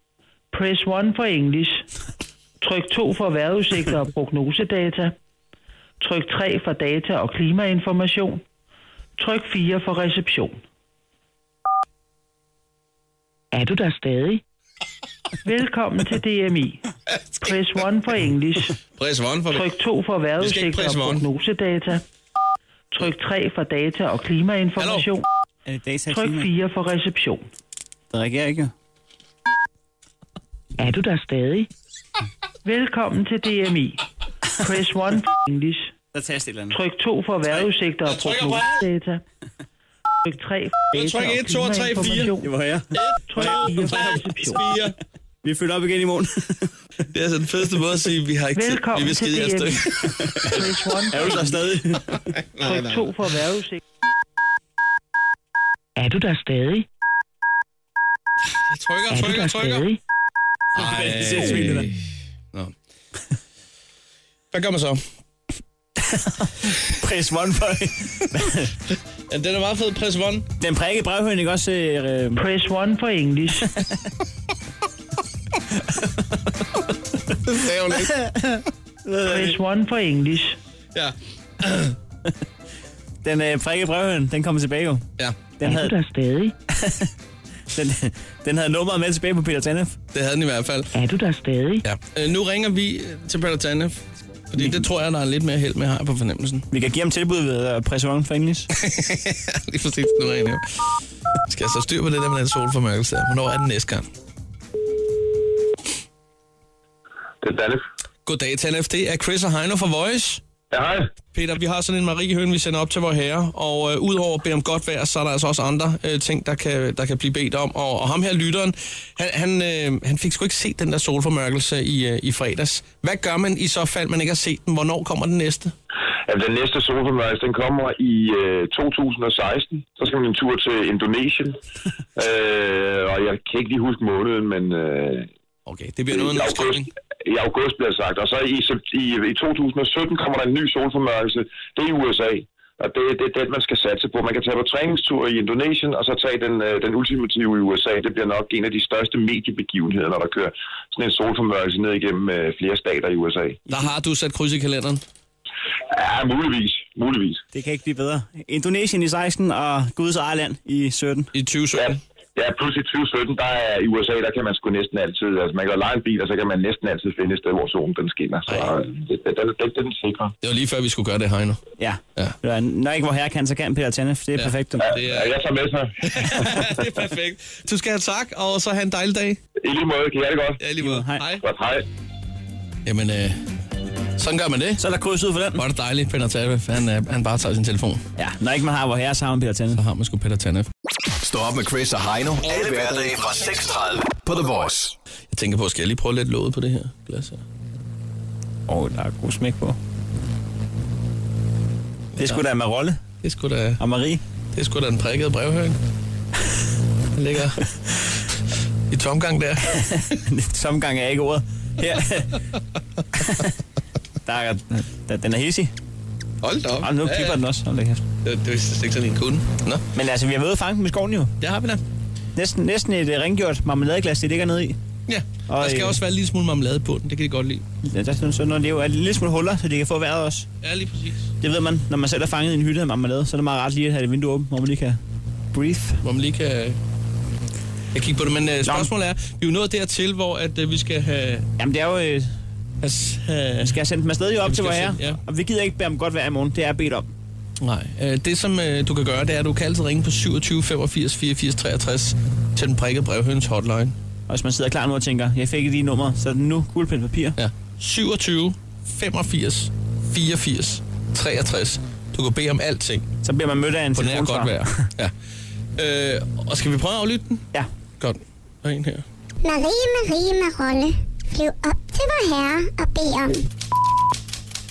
Speaker 16: Press 1 for engelsk. Tryk 2 for vejrudsigter og prognosedata. Tryk 3 for data og klimainformation. Tryk 4 for reception. Er du der stadig? Velkommen til DMI. Press 1 for engelsk.
Speaker 3: Press 1 for...
Speaker 16: Tryk 2 for vejrudsigter og prognosedata. Tryk 3 for data og klimainformation. Tryk 4 for reception.
Speaker 4: Det reagerer ikke.
Speaker 16: Er du der stadig? Velkommen til DMI. Press 1 for English.
Speaker 4: Der tager eller andet.
Speaker 16: Tryk 2 for vejrudsigter og prognosedata. Tryk 3 for data
Speaker 4: Tryk
Speaker 16: og
Speaker 4: 1, 2 og 3, 4.
Speaker 16: klimainformation.
Speaker 4: Det var jeg.
Speaker 16: Tryk 4 for reception.
Speaker 3: 4.
Speaker 4: Vi følger op igen i morgen.
Speaker 3: Det er altså den fedeste måde at sige, vi har ikke tid. Vi
Speaker 16: Velkommen
Speaker 3: vil
Speaker 16: til
Speaker 3: skide jeres
Speaker 16: DMI.
Speaker 3: stykke.
Speaker 16: Press 1
Speaker 4: Er du der stadig?
Speaker 16: Tryk 2 for vejrudsigter. Er du der stadig?
Speaker 3: Jeg trykker,
Speaker 16: Er du
Speaker 3: trykker,
Speaker 16: der
Speaker 3: trykker.
Speaker 16: stadig?
Speaker 3: Ej.
Speaker 4: Det er sindssygt, det der.
Speaker 3: Nå. Hvad gør man så?
Speaker 4: Press one for...
Speaker 3: ja, den er meget fed, press one.
Speaker 4: Den prikke brevhøen, ikke også? Øh, øh,
Speaker 16: Press 1 for English.
Speaker 3: Det sagde hun ikke.
Speaker 16: Press 1 for English.
Speaker 3: Ja.
Speaker 4: den øh, prikke brevhøen, den kommer tilbage jo.
Speaker 3: Ja.
Speaker 4: Den
Speaker 16: Er du
Speaker 4: havde,
Speaker 16: der stadig?
Speaker 4: den, den havde nummeret med tilbage på Peter Tanef.
Speaker 3: Det havde den i hvert fald.
Speaker 16: Er du der stadig?
Speaker 3: Ja. Øh, nu ringer vi til Peter Tanef, fordi det tror jeg, der er lidt mere held med, har jeg på fornemmelsen.
Speaker 4: Vi kan give ham tilbud ved øh, at presse one for engelsk.
Speaker 3: Lige præcis, nu ringer jeg. Skal jeg så styr på det der med den solformørkelse? der? Hvornår er den næste gang?
Speaker 9: Det er Dalif.
Speaker 3: Goddag, Tanef. Det er Chris og Heino fra Voice.
Speaker 9: Ja, hej.
Speaker 3: Peter, vi har sådan en mariehøn, vi sender op til vores herre, og øh, udover at bede om godt vejr, så er der altså også andre øh, ting, der kan, der kan blive bedt om. Og, og ham her, lytteren, han, han, øh, han fik sgu ikke set den der solformørkelse i, øh, i fredags. Hvad gør man i så fald, man ikke har set den? Hvornår kommer den næste?
Speaker 9: Ja, den næste solformørkelse, den kommer i øh, 2016. Så skal man en tur til Indonesien. øh, og jeg kan ikke lige huske måneden, men... Øh,
Speaker 3: okay, det bliver noget
Speaker 9: i
Speaker 3: af en
Speaker 9: august, I august bliver sagt. Og så i, sept- i, i 2017 kommer der en ny solformørkelse. Det er i USA. Og det, det er den, man skal satse på. Man kan tage på træningstur i Indonesien, og så tage den, øh, den ultimative i USA. Det bliver nok en af de største mediebegivenheder, når der kører sådan en solformørkelse ned igennem øh, flere stater i USA.
Speaker 3: Der har du sat kryds i kalenderen.
Speaker 9: Ja, muligvis. Muligvis.
Speaker 4: Det kan ikke blive bedre. Indonesien i 16 og Guds eget land i 17.
Speaker 3: I 2017.
Speaker 4: Ja.
Speaker 9: Ja, plus i 2017, der er i USA, der kan man sgu næsten altid, altså man kan jo lege en bil, og så kan man næsten altid finde et sted, hvor solen den skinner. Så øh, det, det, den, den, den sikrer.
Speaker 3: Det var lige før, vi skulle gøre det, Heino.
Speaker 4: Ja.
Speaker 3: ja.
Speaker 4: Eller, når ikke hvor herre kan, så kan Peter Tanef. Det er ja. perfekt.
Speaker 3: Det
Speaker 9: Ja, jeg tager med sig.
Speaker 3: det er perfekt. Du skal have tak, og så have en dejlig dag.
Speaker 9: I lige måde, kan jeg det godt?
Speaker 3: Ja, i lige måde. Hej. Hej.
Speaker 9: Godt, hej.
Speaker 3: Jamen, øh, sådan gør man det.
Speaker 4: Så er der kryds ud for den.
Speaker 3: Var det dejligt, Peter Tanef. Han, øh, han bare tager sin telefon.
Speaker 4: Ja, når ikke man har hvor herre, så har man Peter Tanef. Så
Speaker 3: har man sgu Peter Tanef.
Speaker 18: Stå op med Chris og Heino. Alle hverdage fra 6.30 på The Voice.
Speaker 3: Jeg tænker på, skal jeg lige prøve lidt låget på det her glas her?
Speaker 4: Åh, oh, der er god smæk på. Det er sgu da med rolle.
Speaker 3: Det er sgu da...
Speaker 4: Og Marie.
Speaker 3: Det er sgu da den prikkede brevhøring. Den ligger i tomgang der.
Speaker 4: Tomgang er ikke ordet. Her. der er, der, den er hissig.
Speaker 3: Hold da op.
Speaker 4: Og nu piper den også. Hold da kæft.
Speaker 3: Det, det er vist ikke sådan en kunde. Nå.
Speaker 4: Men altså, vi har været ude at fange dem i skoven jo.
Speaker 3: Det har vi da.
Speaker 4: Næsten, næsten et uh, rengjort marmeladeglas, det ligger nede i.
Speaker 3: Ja,
Speaker 4: Og,
Speaker 3: der skal
Speaker 4: øh,
Speaker 3: også være en lille smule marmelade på den. Det kan de godt lide.
Speaker 4: Ja, der sådan, sådan noget, det er jo er lidt smule huller, så de kan få vejret også.
Speaker 3: Ja, lige præcis.
Speaker 4: Det ved man, når man selv er fanget i en hytte af marmelade, så er det meget rart lige at have det vindue åbent, hvor man lige kan breathe.
Speaker 3: Hvor man lige kan... Jeg kigger på det, men øh, spørgsmålet er, vi er jo nået dertil, hvor at, øh, vi skal have...
Speaker 4: Jamen det er jo... Øh,
Speaker 3: has,
Speaker 4: man skal sende dem afsted jo op til
Speaker 3: vi skal
Speaker 4: vores herre,
Speaker 3: sende- ja.
Speaker 4: og vi gider ikke bære dem godt vejr i morgen, det er bedt om.
Speaker 3: Nej, øh, det som øh, du kan gøre, det er, at du kan altid ringe på 27 85 84 63 til den prikkede brevhøns hotline.
Speaker 4: Og hvis man sidder klar nu og tænker, jeg fik ikke lige nummer, så er det nu guldpind papir.
Speaker 3: Ja. 27 85 84 63. Du kan bede om alting.
Speaker 4: Så bliver man mødt af en
Speaker 3: På nær
Speaker 4: telefonsvarer.
Speaker 3: godt vejr. Ja. Øh, og skal vi prøve at aflytte den?
Speaker 4: Ja.
Speaker 3: Godt. Der er en her.
Speaker 17: Marie, Marie, Marolle. Flyv op til vor herre og bed om.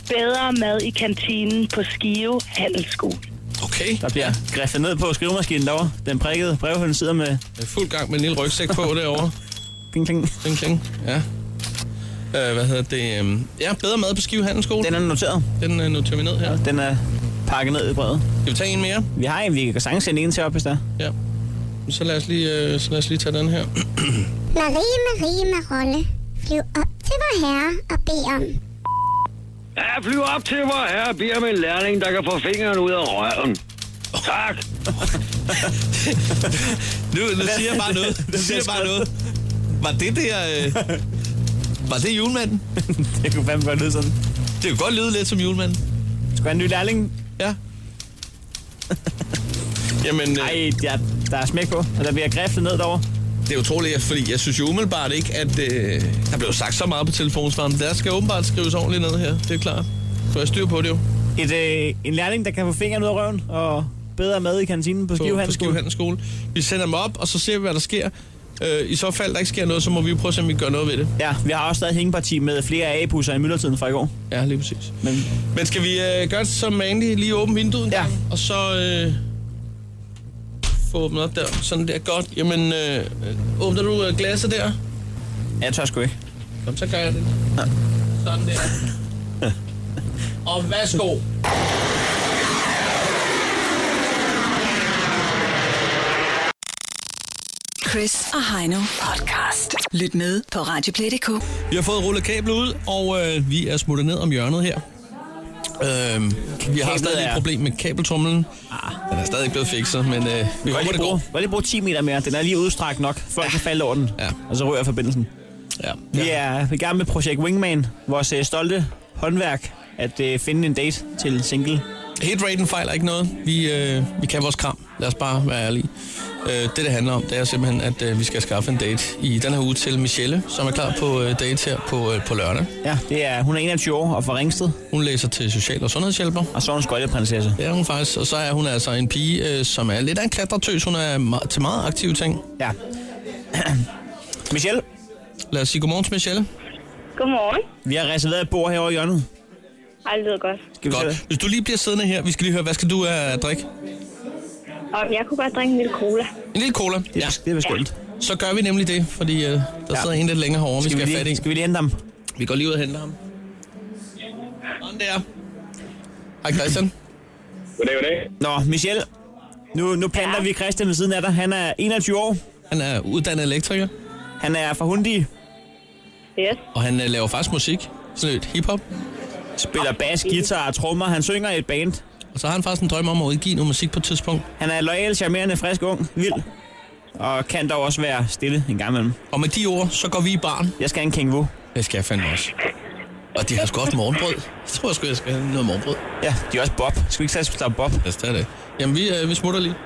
Speaker 19: Bedre mad i kantinen på Skive Handelsskolen.
Speaker 3: Okay.
Speaker 4: Der bliver griffet ned på skrivemaskinen derovre. Den prikkede brevhøn sidder med...
Speaker 3: Jeg er fuld gang med en lille rygsæk på derovre.
Speaker 4: Kling, kling.
Speaker 3: Kling, kling. Ja. Øh, hvad hedder det? øhm, Ja, bedre mad på Skive Handelsskole. Den
Speaker 4: er noteret.
Speaker 3: Den øh, noterer vi ned her.
Speaker 4: Den er pakket ned i brødet.
Speaker 3: Skal vi tage en mere?
Speaker 4: Vi har en, vi kan sagtens sende en til op, hvis der er.
Speaker 3: Ja. Så lad os lige, øh, så lad os lige tage den her.
Speaker 17: Marie, Marie, Marolle, flyv op til vor herre og bed om.
Speaker 20: Ja, flyv op til mig her og beder om en lærling, der kan få fingeren ud af røven. Tak.
Speaker 3: Nu, nu siger jeg bare noget. Nu siger jeg bare noget. Var det der... Øh, var det julemanden?
Speaker 4: det kunne fandme godt lyde sådan.
Speaker 3: Det kunne godt lyde lidt som julemanden.
Speaker 4: Skal være en ny lærling?
Speaker 3: Ja. Jamen... øh-
Speaker 4: Nej, der, der er smæk på, og der bliver græftet ned derovre.
Speaker 3: Det er utroligt, fordi jeg synes jo umiddelbart ikke, at øh, der blev sagt så meget på telefonsvaren. Der skal åbenbart skrives ordentligt ned her, det er klart. Så jeg styr på det jo.
Speaker 4: Et, øh, en lærling, der kan få fingeren ud af røven og bedre mad i kantinen på Skive
Speaker 3: på, på
Speaker 4: Handelsskole.
Speaker 3: Skive Handelsskole. Vi sender dem op, og så ser vi, hvad der sker. Øh, I så fald, der ikke sker noget, så må vi jo prøve at se, om vi gør noget ved det.
Speaker 4: Ja, vi har også stadig hængeparti med flere A-pusser i myldretiden fra i går.
Speaker 3: Ja, lige præcis.
Speaker 4: Men
Speaker 3: Men skal vi øh, gøre det som vanligt? Lige åbne vinduet en gang, ja. og så øh, få åbnet op der. Sådan der, godt. Jamen, øh, øh, åbner du øh, glasset der?
Speaker 4: jeg tør sgu ikke.
Speaker 3: Kom, så gør jeg det. Ja. Sådan der. og værsgo.
Speaker 2: Chris og Heino podcast. Lyt med på Radioplay.dk.
Speaker 3: Vi har fået rullet kablet ud, og øh, vi er smuttet ned om hjørnet her. Øh, vi har
Speaker 4: Kablet
Speaker 3: stadig et
Speaker 4: er- Ah.
Speaker 3: problem med kabeltrumlen. Den er stadig ikke blevet fikset, men øh, vi
Speaker 4: Bare
Speaker 3: håber,
Speaker 4: lige
Speaker 3: det
Speaker 4: bruge,
Speaker 3: går.
Speaker 4: bare lige bruge 10 meter mere. Den er lige udstrakt nok. Folk kan falde over den. Ja. Og så rører forbindelsen.
Speaker 3: Ja.
Speaker 4: Vi er i gang med projekt Wingman. Vores øh, stolte håndværk at øh, finde en date til single.
Speaker 3: Hitraten fejler ikke noget. Vi, øh, vi kan vores kram. Lad os bare være ærlige. Øh, det, det handler om, det er simpelthen, at øh, vi skal skaffe en date i den her uge til Michelle, som er klar på øh, date her på, øh, på lørdag.
Speaker 4: Ja, det er, hun er 21 år og fra Ringsted.
Speaker 3: Hun læser til social- og sundhedshjælper.
Speaker 4: Og så er hun skøjteprinsesse.
Speaker 3: Det er hun faktisk. Og så er hun altså en pige, øh, som er lidt af en klatretøs. Hun er meget, til meget aktive ting.
Speaker 4: Ja. Michelle?
Speaker 3: Lad os sige godmorgen til Michelle.
Speaker 8: Godmorgen.
Speaker 4: Vi har reserveret et bord herovre i hjørnet.
Speaker 8: Ej, det lyder godt.
Speaker 4: Skal vi se
Speaker 3: Godt. Hvis du lige bliver siddende her, vi skal lige høre, hvad skal du have at drikke?
Speaker 8: Og jeg kunne godt drikke en lille cola.
Speaker 3: En lille cola. Det, ja.
Speaker 4: det er bestemt.
Speaker 3: Så gør vi nemlig det, fordi øh, der ja. sidder en lidt længere herovre, vi skal,
Speaker 4: Skal vi lige-
Speaker 3: have fat i.
Speaker 4: skal vi lige hente ham?
Speaker 3: Vi går lige ud og henter ham. Sådan der. Hej Christian.
Speaker 13: Goddag, goddag.
Speaker 4: Nå, Michelle. Nu, nu planter ja. vi Christian ved siden af dig. Han er 21 år.
Speaker 3: Han er uddannet elektriker.
Speaker 4: Han er fra Hundi.
Speaker 8: Yes.
Speaker 3: Og han øh, laver faktisk musik. Sådan lidt hiphop.
Speaker 4: Spiller bas, guitar og trommer. Han synger i et band.
Speaker 3: Og så har han faktisk en drøm om at udgive noget musik på et tidspunkt.
Speaker 4: Han er lojal, charmerende, frisk, ung, vild. Og kan dog også være stille en gang imellem.
Speaker 3: Og med de ord, så går vi i barn.
Speaker 4: Jeg skal have en kængvu.
Speaker 3: Det skal jeg fandme også. Og de har sgu også morgenbrød. Jeg tror jeg sgu, jeg skal have noget morgenbrød.
Speaker 4: Ja, de er også Bob. Skal vi ikke tage der er Bob?
Speaker 3: Lad os tage det. Jamen, vi, øh, vi smutter lige.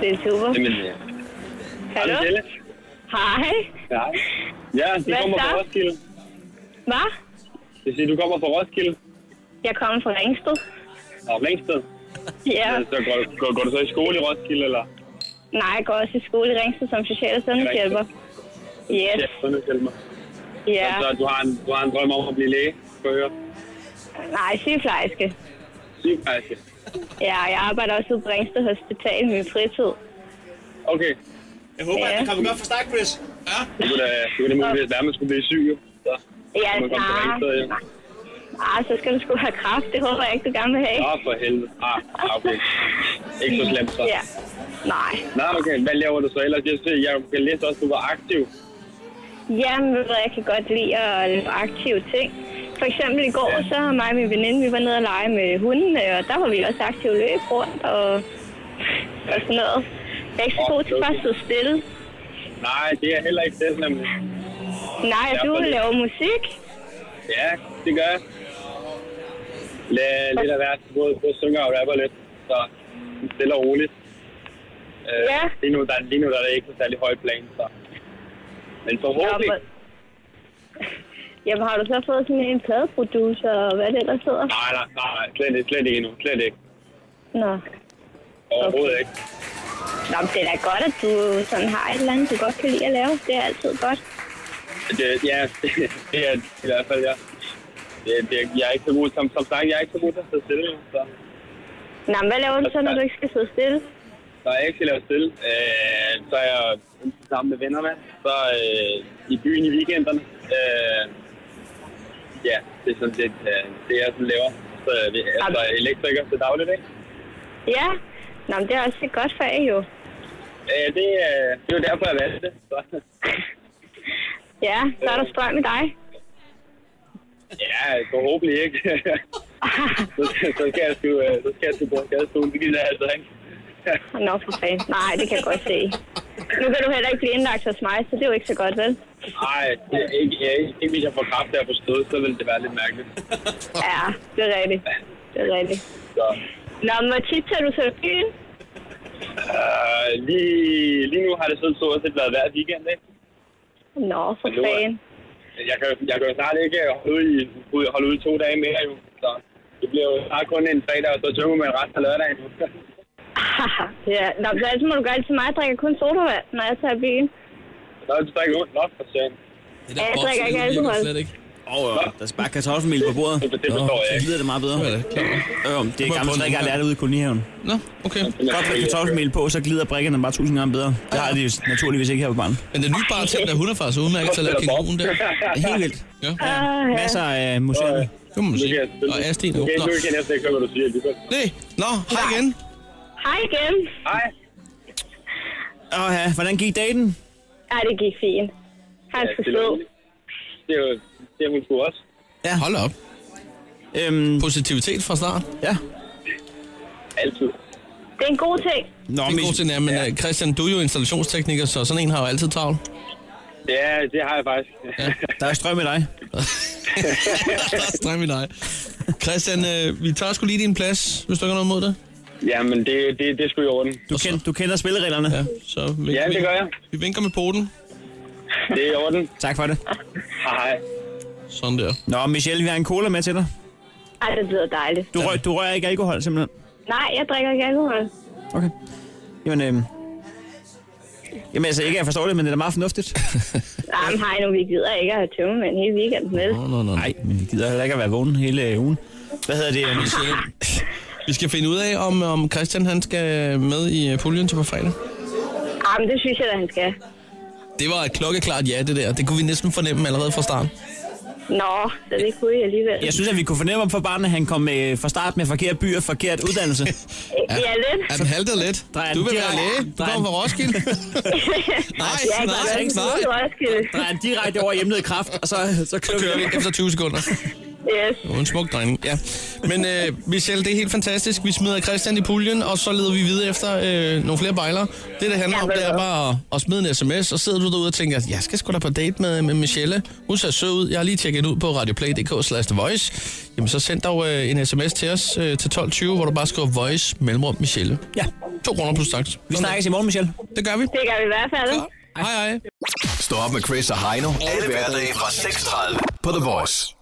Speaker 8: Det er super.
Speaker 13: Jamen,
Speaker 8: Hallo? Hej.
Speaker 13: ja. Ja, de
Speaker 8: Hvad
Speaker 13: kommer
Speaker 8: så?
Speaker 13: fra Roskilde.
Speaker 8: Hvad?
Speaker 13: Det siger, du kommer fra Roskilde.
Speaker 8: Jeg kommer fra Ringsted.
Speaker 13: Nå, Ringsted.
Speaker 8: Ja.
Speaker 13: Så går, går, går, du så i skole i Roskilde, eller?
Speaker 8: Nej, jeg går også i skole i Ringsted som social- og sundhedshjælper. Yes.
Speaker 13: Ja, sundhedshjælper.
Speaker 8: Ja.
Speaker 13: Så du har, en, du har en drøm om at blive læge, skal jeg høre.
Speaker 8: Nej, sygeplejerske.
Speaker 13: Sygeplejerske.
Speaker 8: Ja, og jeg arbejder også ude på Ringsted Hospital i min fritid.
Speaker 13: Okay.
Speaker 4: Jeg
Speaker 8: håber, at det kommer godt
Speaker 4: for start, Chris. Ja.
Speaker 13: Det kunne da, det kunne da muligvis være, at man skulle blive syg, jo. Så
Speaker 8: Ja,
Speaker 13: kunne man komme til
Speaker 8: nej.
Speaker 13: Ringsted, ja.
Speaker 8: Ah, så skal du sgu have kraft. Det håber jeg ikke, du gerne vil have.
Speaker 13: Nå, for helvede. Ah, ah, okay. Ikke så slemt, så.
Speaker 8: Ja. Nej.
Speaker 13: Nå, okay. Hvad laver du så ellers? Jeg, ser, jeg kan læse også, at du var aktiv.
Speaker 8: Jamen, ved du hvad, jeg kan godt lide at lave aktive ting. For eksempel i går, så har mig og min veninde, vi var nede og lege med hunden, og der var vi også aktive løb rundt og, og sådan noget. Jeg er ikke så god til bare at sidde stille.
Speaker 13: Nej, det er heller ikke det, nemlig.
Speaker 8: Nej, og du laver musik.
Speaker 13: Ja, det gør jeg. Lad lidt af hvert. Både, både synger og rapper lidt. Så stille og roligt. Øh,
Speaker 8: Ja.
Speaker 13: Lige nu, der, lige nu der er det ikke på særlig høj plan, så... Men forhåbentlig...
Speaker 8: Jamen, har du så fået sådan en pladeproducer og hvad det ellers hedder?
Speaker 13: Nej, nej, nej, nej, slet ikke, slet ikke endnu. Slet ikke.
Speaker 8: Nå.
Speaker 13: Overhovedet ikke.
Speaker 8: Nå, men det er da godt, at du sådan har et eller andet, du godt kan lide at lave. Det er altid godt.
Speaker 13: Det, ja, det, det er i hvert fald, ja. Det, det, jeg er ikke så god, som, som sagt, jeg er ikke så god til at sidde stille. Så.
Speaker 8: Nå, men hvad laver du så, når du ikke skal sidde stille?
Speaker 13: når jeg ikke skal lave stille, øh, så er jeg enten sammen med venner med, så øh, i byen i weekenderne. Øh, ja, det er sådan set øh, det, jeg sådan laver. Så øh, vi- altså, jeg er elektriker til dagligt, ikke?
Speaker 8: Ja, Nå, men det er også et godt fag jo.
Speaker 13: Øh, det, øh, det var derfor, jeg valgte det. Så,
Speaker 8: Ja, så er der strøm i dig.
Speaker 13: ja, forhåbentlig ikke. så, så, skal jeg sgu, øh, så skal jeg sgu bruge skadestuen, det gider jeg altså ikke.
Speaker 8: Nå, for fanden. Nej, det kan jeg godt se. Nu kan du heller ikke blive indlagt hos mig, så det er jo ikke så godt, vel?
Speaker 13: Nej, det er ikke, jeg, ikke, ikke hvis jeg får kraft der på stød, så vil det være lidt mærkeligt.
Speaker 8: Ja, det er rigtigt. Det er rigtigt.
Speaker 13: Så,
Speaker 8: Nå, men hvor tit tager du så i byen?
Speaker 13: øh, lige, lige nu har det sådan stort set været hver weekend, ikke?
Speaker 8: Nå, for
Speaker 13: Men nu er-
Speaker 8: fanden.
Speaker 13: Jeg kan, jo- jeg kan jo snart ikke holde ud, i, ud- holde ud to dage mere, jo. Så det bliver jo snart kun en fredag, og så tømmer man resten af lørdagen.
Speaker 8: Ja, nå, så altså må du gøre det til mig. Jeg drikker kun sodavand, når jeg tager i byen.
Speaker 13: Nå, det er ikke ondt nok for sagen.
Speaker 8: Ja, jeg drikker ikke alkohol.
Speaker 4: Åh, oh, der er bare kartoffelmel på bordet. Det
Speaker 13: forstår jeg
Speaker 4: ikke. lyder det meget bedre. Ja, det, øh, det er
Speaker 3: prøve
Speaker 4: gamle
Speaker 3: at
Speaker 4: trick, jeg har lært ude i kolonihaven.
Speaker 3: Nå, okay.
Speaker 4: Godt
Speaker 8: altså,
Speaker 4: med kartoffelmel på, så glider brikkerne bare tusind gange bedre. Det har de jo naturligvis ikke her på barnet.
Speaker 3: Men den nye bartender, hun er faktisk udmærket til at lave kænguruen der.
Speaker 4: Helt vildt.
Speaker 3: Ja.
Speaker 10: Ah,
Speaker 8: Ah, Ja.
Speaker 4: Masser af museer.
Speaker 3: Det må man sige. Og Astrid,
Speaker 4: Du kan ikke lytte igen
Speaker 13: efter, jeg hvad du siger.
Speaker 3: Nej, nå, hej igen.
Speaker 8: Hej igen.
Speaker 13: Hej.
Speaker 4: Åh, ja. hvordan gik daten?
Speaker 8: Ja, det gik fint. Han
Speaker 13: Ja,
Speaker 8: skulle
Speaker 13: det er
Speaker 8: slå.
Speaker 13: Det er jo det, er hun skulle også.
Speaker 4: Ja.
Speaker 3: Hold op.
Speaker 4: Øhm,
Speaker 3: Positivitet fra start.
Speaker 4: Ja.
Speaker 13: Altid.
Speaker 8: Det er en god ting.
Speaker 4: Nå,
Speaker 3: det er god til, ja, men øh, Christian, du er jo installationstekniker, så sådan en har jo altid travlt.
Speaker 13: Ja, det har jeg faktisk.
Speaker 4: Der er strøm i dig.
Speaker 3: strøm i dig. Christian, øh, vi tager sgu lige din plads, hvis du ikke har noget mod det.
Speaker 13: Jamen, det, det, det skulle i orden.
Speaker 4: Du, kend, du kender spillereglerne.
Speaker 3: Ja, så vi,
Speaker 13: Ja, det gør jeg.
Speaker 3: Vi vinker med poten.
Speaker 13: Det er i orden.
Speaker 4: Tak for det.
Speaker 13: Hej.
Speaker 3: Sådan der.
Speaker 4: Nå, Michelle, vi har en cola med til dig.
Speaker 8: Ej, det lyder dejligt.
Speaker 4: Du, røg, du rører ikke alkohol, simpelthen.
Speaker 8: Nej, jeg drikker ikke alkohol.
Speaker 4: Okay. Jamen, øhm. Jamen altså, ikke at jeg forstår det, men det er da meget fornuftigt.
Speaker 8: Jamen, Ah, hej nu, vi gider ikke at have tømmermænd hele weekenden, vel?
Speaker 3: Nå, nå,
Speaker 4: Nej, men jeg gider heller ikke at være vågen hele øh, ugen. Hvad hedder det? øhm,
Speaker 3: Michelle? Vi skal finde ud af, om, om Christian han skal med i øh, puljen til på fredag.
Speaker 8: Jamen, Ah, det synes jeg, at han skal.
Speaker 3: Det var et klokkeklart ja, det der. Det kunne vi næsten fornemme allerede fra starten.
Speaker 8: Nå, så det kunne I alligevel.
Speaker 4: Jeg synes, at vi kunne fornemme om for barnet, at han kom med, fra start med forkert by og forkert uddannelse.
Speaker 8: Ja, ja lidt.
Speaker 3: Er den halter lidt?
Speaker 4: Drej,
Speaker 3: Du vil være læge. Du kommer fra Roskilde. Nej,
Speaker 8: ja,
Speaker 3: nej,
Speaker 8: nej,
Speaker 3: nej.
Speaker 8: nej.
Speaker 4: Drej, direkte over hjemled i kraft, og så, så kører,
Speaker 3: kører vi efter 20 sekunder.
Speaker 8: Yes.
Speaker 3: Det var en smuk drejning, ja. Men øh, Michelle, det er helt fantastisk. Vi smider Christian i puljen, og så leder vi videre efter øh, nogle flere bejlere. Det, det handler om, det er bare at, at smide en sms, og sidder du derude og tænker, jeg skal sgu da på date med, med Michelle. Hun ser sød ud. Jeg har lige tjekket ud på radioplay.dk slash The voice. Jamen, så send dog øh, en sms til os øh, til 12.20, hvor du bare skriver voice mellemrum Michelle.
Speaker 4: Ja.
Speaker 3: To kroner plus tax.
Speaker 4: Vi snakkes i morgen, Michelle.
Speaker 3: Det gør vi.
Speaker 8: Det gør vi i hvert fald.
Speaker 3: Hej, hej.
Speaker 9: Stå op med Chris og Heino. Alle hverdage fra 6.30 på The Voice.